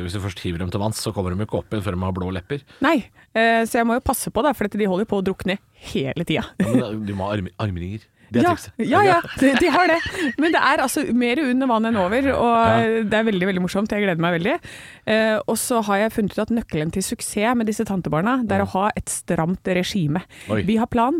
Speaker 4: hvis du først hiver dem til vanns, så kommer de ikke opp igjen før de har blå lepper.
Speaker 3: Nei, eh, så jeg må jo passe på, da, for at de holder på å drukne hele tida.
Speaker 4: Ja, men da- de må ha arm, armringer. Det er
Speaker 3: Ja,
Speaker 4: trikset.
Speaker 3: ja, ja de, de har det. Men det er altså mer under vann enn over, og det er veldig veldig morsomt. Jeg gleder meg veldig. Eh, og så har jeg funnet ut at nøkkelen til suksess med disse tantebarna, det er å ha et stramt regime.
Speaker 4: Oi.
Speaker 3: Vi har plan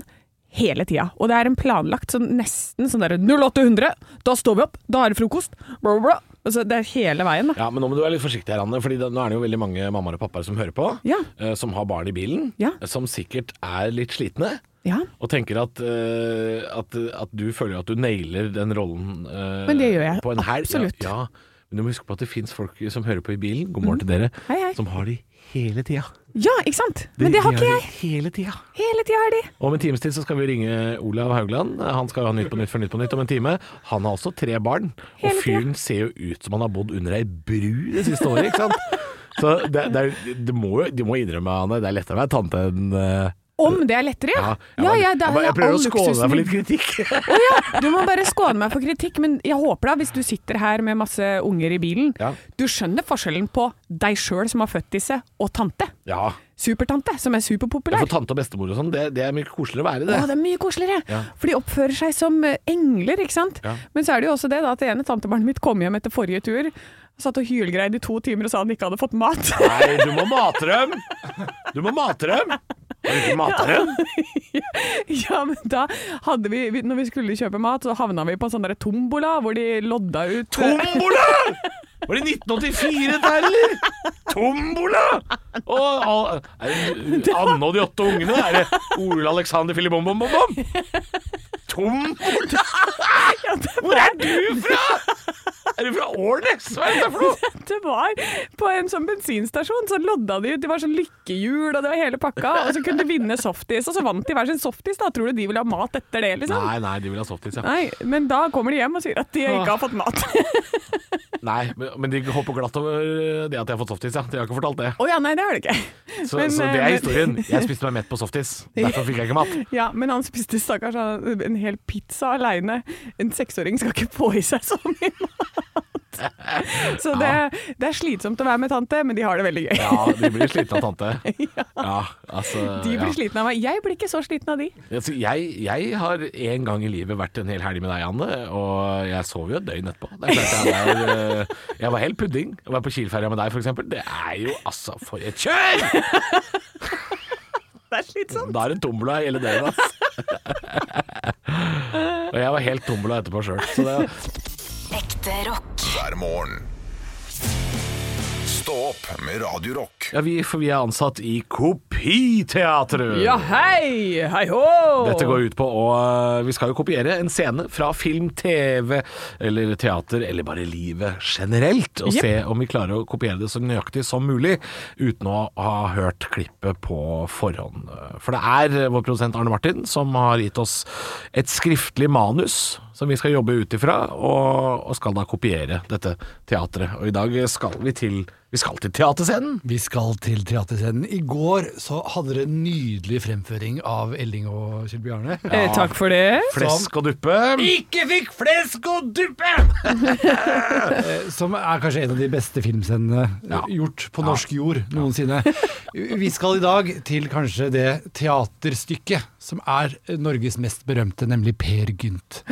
Speaker 3: hele tida, og det er en planlagt sånn nesten sånn der 0800, da står vi opp, da er det frokost, bla, bla, bla. Altså, det er hele veien, da.
Speaker 4: Ja, men nå må du være litt forsiktig her, Anne, Fordi da, nå er det jo veldig mange mammaer og pappaer som hører på.
Speaker 3: Ja.
Speaker 4: eh, som har barn i bilen.
Speaker 3: Ja.
Speaker 4: eh, Som sikkert er litt slitne.
Speaker 3: Ja,
Speaker 4: Og tenker at, eh, at, at du føler at du nailer den rollen eh,
Speaker 3: Men det gjør jeg,
Speaker 4: på en helg.
Speaker 3: absolutt.
Speaker 4: Ja, ja. Men du må huske på at det fins folk som hører på i bilen, god morgen til dere,
Speaker 3: Mhm. Hei, hei.
Speaker 4: som har de hele tida.
Speaker 3: ja ikke sant? Men det har ikke jeg.
Speaker 4: Hele tida.
Speaker 3: Hele tida er de.
Speaker 4: Om en times tid så skal vi ringe Olav Haugland. Han skal jo ha Nytt på Nytt for Nytt på Nytt om en time. Han har også tre barn, og
Speaker 3: Hele tida.
Speaker 4: fyren ser jo ut som han har bodd under ei bru det siste året, ikke sant? Så det, det, er- det må, jo- de må innrømme, Anne, det er lettere å være tante enn eh,
Speaker 3: Om det er lettere, ja.
Speaker 4: ja,
Speaker 3: Ja, ja,
Speaker 4: jeg,
Speaker 3: det er
Speaker 4: bare- jeg prøver å
Speaker 3: all
Speaker 4: skåne deg
Speaker 3: luksusen
Speaker 4: for
Speaker 3: i
Speaker 4: litt kritikk.
Speaker 3: Å ja, du må bare skåne meg for kritikk, men jeg håper da, hvis du sitter her med masse unger i bilen,
Speaker 4: Ja.
Speaker 3: du skjønner forskjellen på deg sjøl som har født disse, og tante.
Speaker 4: Ja,
Speaker 3: Supertante, som er
Speaker 4: for
Speaker 3: superpopulær.
Speaker 4: tante og bestemor og sånn, det, det er mye koseligere å være
Speaker 3: Å,
Speaker 4: det.
Speaker 3: det er mye koseligere!
Speaker 4: Ja.
Speaker 3: For de oppfører seg som eh, engler, ikke sant.
Speaker 4: Ja.
Speaker 3: Men så er det jo også det da, at det ene tantebarnet mitt kom hjem etter forrige tur, satt og hylgreide i to timer og sa han ikke hadde fått mat.
Speaker 4: Nei, du må mate dem! Du må mate dem! Har du ikke mata dem?
Speaker 3: ja, men da hadde vi, vi- når vi skulle kjøpe mat, så havna vi på en sånn der tombola hvor de lodda ut
Speaker 4: Tombola! Var det 1984 dette her, eller? Tombola! Og, all- er det Anne og de åtte ungene? Er det Ole Alexander Filibom-bom-bom? Tombola! Hvor er du fra? Er du fra Årnes? Hva er dette for noe?
Speaker 3: Det var på en sånn bensinstasjon, så lodda de ut. Det var sånn lykkehjul, og det var hele pakka. Og så kunne de vinne softis, og så vant de hver sin softis. Da tror du de ville ha mat etter det, liksom?
Speaker 4: Nei, nei, de vil ha softis, ja.
Speaker 3: Nei, men da kommer de hjem og sier at de ikke har fått mat. Å
Speaker 4: Nei, men men de hopper glatt over det at de har fått softis, ja. De har ikke fortalt det.
Speaker 3: ja, nei, det har de ikke.
Speaker 4: Så,
Speaker 3: Men,
Speaker 4: så det
Speaker 3: eh,
Speaker 4: er historien. Jeg spiste meg mett på softis. Derfor fikk jeg ikke mat.
Speaker 3: Ja, men han spiste stakkars han- en hel pizza aleine. En seksåring skal ikke få i seg så mye mat. Så det, det er slitsomt å være med tante, men de har det veldig gøy.
Speaker 4: Ja, de blir slitne av tante. Ja, altså
Speaker 3: De blir
Speaker 4: ja.
Speaker 3: slitne av meg. Jeg blir ikke så sliten av de.
Speaker 4: Altså, jeg, jeg har en gang i livet vært en hel helg med deg, Anne, og jeg sov jo et døgn etterpå. Det er klart jeg, var, eh, jeg var helt pudding. Å være på Kielferja med deg, f.eks. Det er jo altså for et kjør!
Speaker 3: Det er slitsomt.
Speaker 4: Da er det tombola hele døgnet, ass. Og jeg var helt tombola etterpå sjøl. Så det,
Speaker 1: Ekte rock.
Speaker 2: hver morgen. Stå opp med Radio Rock.
Speaker 4: ja, vi, for vi er ansatt i Kopiteatret.
Speaker 3: Ja, hei! Hei hå!
Speaker 4: Dette går ut på å eh, Vi skal jo kopiere en scene fra film, TV eller teater, eller bare livet generelt, og
Speaker 3: Jep.
Speaker 4: se om vi klarer å kopiere det så nøyaktig som mulig uten å ha hørt klippet på forhånd. For det er vår produsent Arne Martin som har gitt oss et skriftlig manus som vi skal jobbe ut ifra, og, og skal da kopiere dette teatret. Og i dag skal vi til Vi skal til teaterscenen.
Speaker 8: Vi skal til teaterscenen. I går så hadde dere en nydelig fremføring av Elling og Kjell Bjarne.
Speaker 3: Eh, takk for det.
Speaker 4: Flesk og duppe.
Speaker 8: Ikke fikk flesk og duppe! Eh, Som er kanskje en av de beste filmscenene eh,
Speaker 4: Ja.
Speaker 8: gjort på norsk jord noensinne. Vi skal i dag til kanskje det teaterstykket som er Norges mest berømte, nemlig Per Gynt.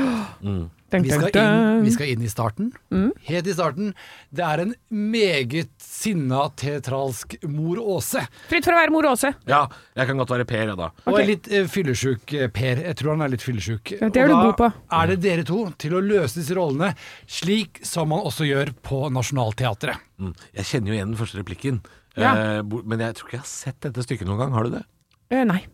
Speaker 8: Vi skal inn, vi skal inn i starten.
Speaker 4: Mm.
Speaker 8: Helt i starten. Det er en meget sinna teatralsk mor Åse.
Speaker 3: Fritt for å være mor Åse.
Speaker 4: Ja, jeg kan godt være Per, jeg, da.
Speaker 8: Og en litt eh, fyllesjuk eh, Per. Jeg tror han er litt fyllesjuk.
Speaker 3: Ja, det er
Speaker 8: Og
Speaker 3: du
Speaker 8: da
Speaker 3: god på.
Speaker 8: er det dere to til å løse disse rollene, slik som man også gjør på Nationaltheatret.
Speaker 4: Mm. Jeg kjenner jo igjen den første replikken,
Speaker 3: Ja.
Speaker 4: Eh, bo- men jeg tror ikke jeg har sett dette stykket noen gang. Har du det?
Speaker 3: Eh, nei.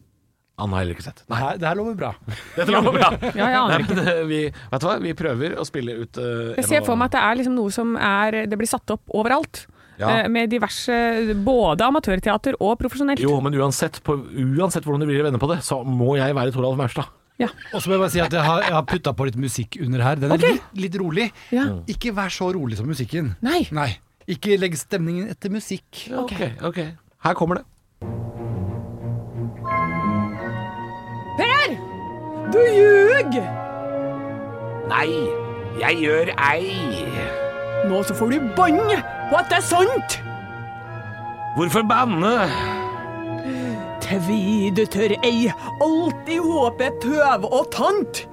Speaker 4: Han har heller ikke sett.
Speaker 8: Det her, det her lover bra.
Speaker 4: Dette lover bra.
Speaker 3: Ja, jeg
Speaker 4: Nei,
Speaker 3: aner ikke.
Speaker 4: men, eh, vi, vet du hva? vi prøver å spille ut eh,
Speaker 3: Jeg
Speaker 4: en
Speaker 3: ser
Speaker 4: av-
Speaker 3: for meg at det er liksom noe som er Det blir satt opp overalt.
Speaker 4: Ja.
Speaker 3: eh, Med diverse Både amatørteater og profesjonelt.
Speaker 4: Jo, men uansett, på, uansett hvordan du blir vende på det, så må jeg være Toralf Maurstad.
Speaker 3: Ja.
Speaker 8: Og så må jeg bare si at jeg har, jeg har putta på litt musikk under her. Den er
Speaker 3: Ok.
Speaker 8: litt, litt rolig.
Speaker 3: Ja.
Speaker 8: Ikke vær så rolig som musikken.
Speaker 3: Nei.
Speaker 8: Ikke legg stemningen etter musikk.
Speaker 4: ok, ok. Her kommer det.
Speaker 3: Per! Du ljug!
Speaker 4: Nei, jeg gjør ei.
Speaker 3: Nå så får du bånd på at det er sant!
Speaker 4: Hvorfor banne?
Speaker 3: Tvi du tør ei, alltid håpe tøv og tant.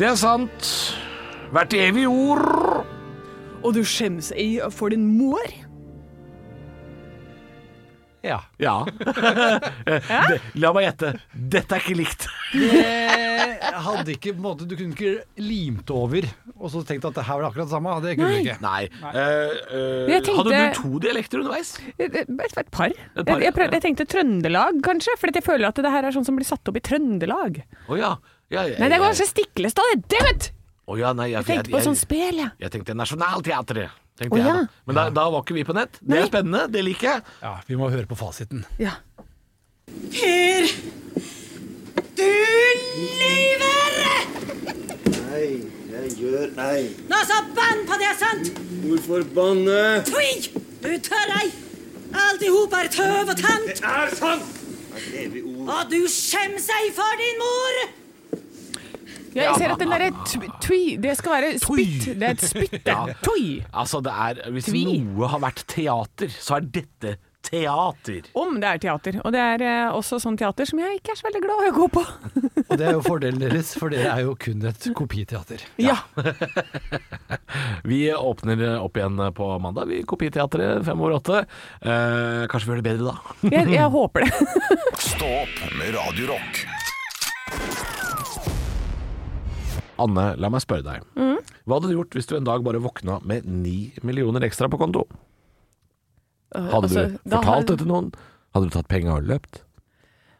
Speaker 4: Det er sant. Hvert evig ord.
Speaker 3: Og du skjems ei for din mor.
Speaker 8: Ja.
Speaker 4: Ja. Eh, Det, la meg gjette. Dette er ikke likt.
Speaker 8: Eh, Jeg hadde ikke, på en måte, du kunne ikke limt over og så tenkt at det her var akkurat det samme. Det kunne du ikke.
Speaker 4: Nei. eh, eh,
Speaker 3: Jeg tenkte-
Speaker 4: Hadde du to dialekter underveis?
Speaker 3: Et, et, et par.
Speaker 4: Et par,
Speaker 3: jeg, jeg, prøvde,
Speaker 4: ja.
Speaker 3: jeg tenkte Trøndelag, kanskje, for jeg føler at det her er sånn som blir satt opp i Trøndelag.
Speaker 4: Å ja. Ja, jeg-
Speaker 3: Nei, det er kanskje Stiklestad, det, vet du!
Speaker 4: Å Eh. ja, nei, jeg,
Speaker 3: Jeg tenkte på sånn spel, jeg.
Speaker 4: Jeg tenkte Nationaltheatret. Tenkte
Speaker 3: Å,
Speaker 4: jeg,
Speaker 3: ja.
Speaker 4: da. Men da, da var ikke vi på nett. Det er spennende, det liker jeg.
Speaker 8: Ja, vi må høre på fasiten.
Speaker 3: Ja.
Speaker 9: Nei, jeg gjør nei.
Speaker 10: Nå så bann på det er sant!
Speaker 9: Hvorfor banne?
Speaker 10: Tvi! Du tør ei! Alt i hop er tøv og tant,
Speaker 9: Er sant! Et evig ord.
Speaker 10: og du skjemmer seg for din mor!
Speaker 3: Ja, jeg ser at den derre tw- twi Det skal være spytt. Det er et spytte. Twi.
Speaker 4: Altså, det er, hvis
Speaker 3: Tvi.
Speaker 4: noe har vært teater, så er dette teater.
Speaker 3: Om det er teater. Og det er eh, også sånn teater som jeg ikke er så veldig glad i å gå på.
Speaker 8: Og det er jo fordelen deres, for dere er jo kun et kopiteater.
Speaker 3: Ja.
Speaker 4: Vi åpner opp igjen på mandag, vi Kopiteatret fem over åtte. Eh, kanskje vi gjør det bedre da.
Speaker 3: Jeg, jeg håper det.
Speaker 2: Stå opp med Radio Rock.
Speaker 4: Anne, la meg spørre deg.
Speaker 3: Mm.
Speaker 4: Hva hadde du gjort hvis du en dag bare våkna med ni millioner ekstra på konto? Hadde
Speaker 3: Altså,
Speaker 4: du
Speaker 3: da
Speaker 4: fortalt
Speaker 3: har-
Speaker 4: det til noen? Hadde du tatt penga og løpt?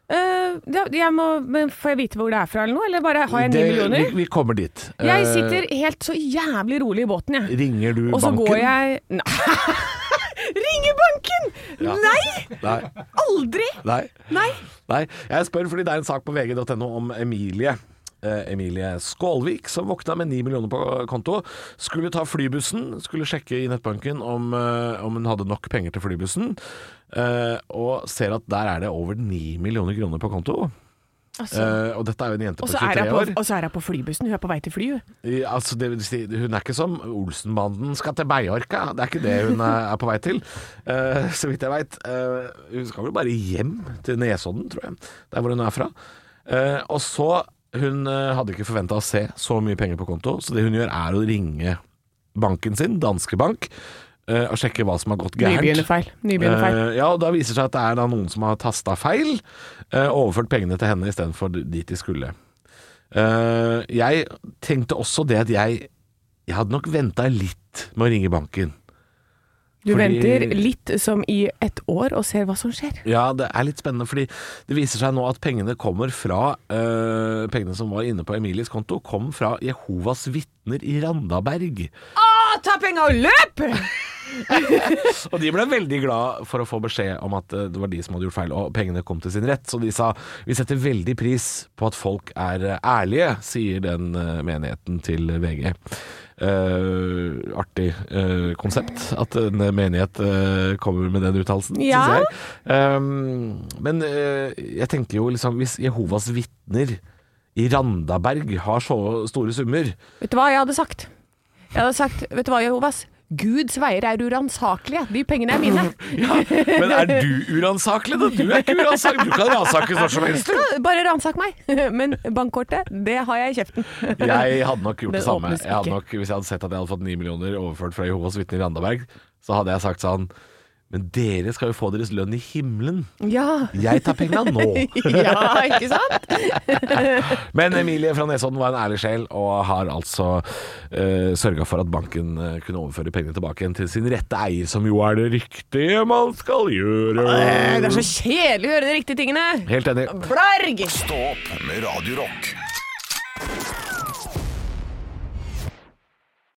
Speaker 3: Eh, det- jeg må, men får jeg vite hvor det er fra eller noe? Eller bare har jeg ni
Speaker 4: Det-
Speaker 3: millioner?
Speaker 4: Vi, vi kommer dit.
Speaker 3: Jeg
Speaker 4: Eh,
Speaker 3: sitter helt så jævlig rolig i båten, jeg.
Speaker 4: Ringer du
Speaker 3: Og så
Speaker 4: banken?
Speaker 3: går jeg Nei. Ringe banken!
Speaker 4: Ja.
Speaker 3: Nei!
Speaker 4: Nei.
Speaker 3: Aldri!
Speaker 4: Nei.
Speaker 3: Nei.
Speaker 4: Nei, jeg spør fordi det er en sak på vg.no om Emilie. eh, Emilie Skålvik, som våkna med 9 millioner på konto, skulle ta flybussen, skulle sjekke i nettbanken om, eh, om hun hadde nok penger til flybussen, eh, og ser at der er det over 9 millioner kroner på konto.
Speaker 3: Altså.
Speaker 4: Eh, og dette er jo en jente på
Speaker 3: Og så er
Speaker 4: 23
Speaker 3: jeg på,
Speaker 4: år.
Speaker 3: og så er jeg på flybussen. Hun er på vei til flyet.
Speaker 4: I- Altså, det vil si, hun er ikke som Olsenbanden skal til Beiarka. Det er ikke det hun er er på vei til, eh, så vidt jeg veit. hun skal vel bare hjem til Nesodden, tror jeg. Der hvor hun er fra. Eh, og så Hun eh, hadde ikke forventa å se så mye penger på konto, så det hun gjør er å ringe banken sin, Danske Bank, eh, og sjekke hva som har gått gærent.
Speaker 3: Nybegynnerfeil. Nybegynnerfeil.
Speaker 4: Eh, ja, og Da viser det seg at det er da noen som har tasta feil, eh, overført pengene til henne istedenfor dit de skulle. Eh, jeg tenkte også det at jeg Jeg hadde nok venta litt med å ringe banken.
Speaker 3: Du
Speaker 4: fordi-
Speaker 3: venter litt som i et år og ser hva som skjer.
Speaker 4: Ja, det er litt spennende, fordi det viser seg nå at pengene kommer fra eh, Pengene som var inne på Emilies konto, kom fra Jehovas vitner i Randaberg.
Speaker 3: Å, ta penga og løp!
Speaker 4: Og de ble veldig glad for å få beskjed om at eh, det var de som hadde gjort feil, og pengene kom til sin rett. Så de sa vi setter veldig pris på at folk er eh, ærlige, sier den eh, menigheten til VG. Eh, artig eh, konsept at en menighet eh, kommer med den uttalelsen,
Speaker 3: Ja.
Speaker 4: syns jeg. Um, men eh, jeg tenker jo liksom Hvis Jehovas vitner i Randaberg har så store summer
Speaker 3: Vet du hva jeg hadde sagt? Jeg hadde sagt, vet du hva, Jehovas? Guds veier er uransakelige. De pengene er mine.
Speaker 4: Men er du uransakelig, da? Du er ikke uransakelig. Du kan ransake når som helst.
Speaker 3: Bare ransak meg. Men bankkortet, det har jeg i kjeften.
Speaker 4: Jeg hadde nok gjort det,
Speaker 3: Det
Speaker 4: samme.
Speaker 3: åpnes
Speaker 4: Jeg hadde
Speaker 3: ikke.
Speaker 4: nok, hvis jeg hadde sett at jeg hadde fått 9 millioner overført fra Jehovas vitner i Randaberg, så hadde jeg sagt sånn Men dere skal jo få deres lønn i himmelen.
Speaker 3: Ja.
Speaker 4: Jeg tar penga nå.
Speaker 3: ja, ikke sant?
Speaker 4: Men Emilie fra Nesodden var en ærlig sjel, og har altså uh, sørga for at banken eh, kunne overføre pengene tilbake igjen til sin rette eier, som jo er det riktige man skal
Speaker 3: Eh, Det
Speaker 4: gjøre.
Speaker 3: er så kjedelig å gjøre de riktige tingene.
Speaker 4: Helt enig.
Speaker 3: Blarg!
Speaker 2: Stå opp med Radio Rock.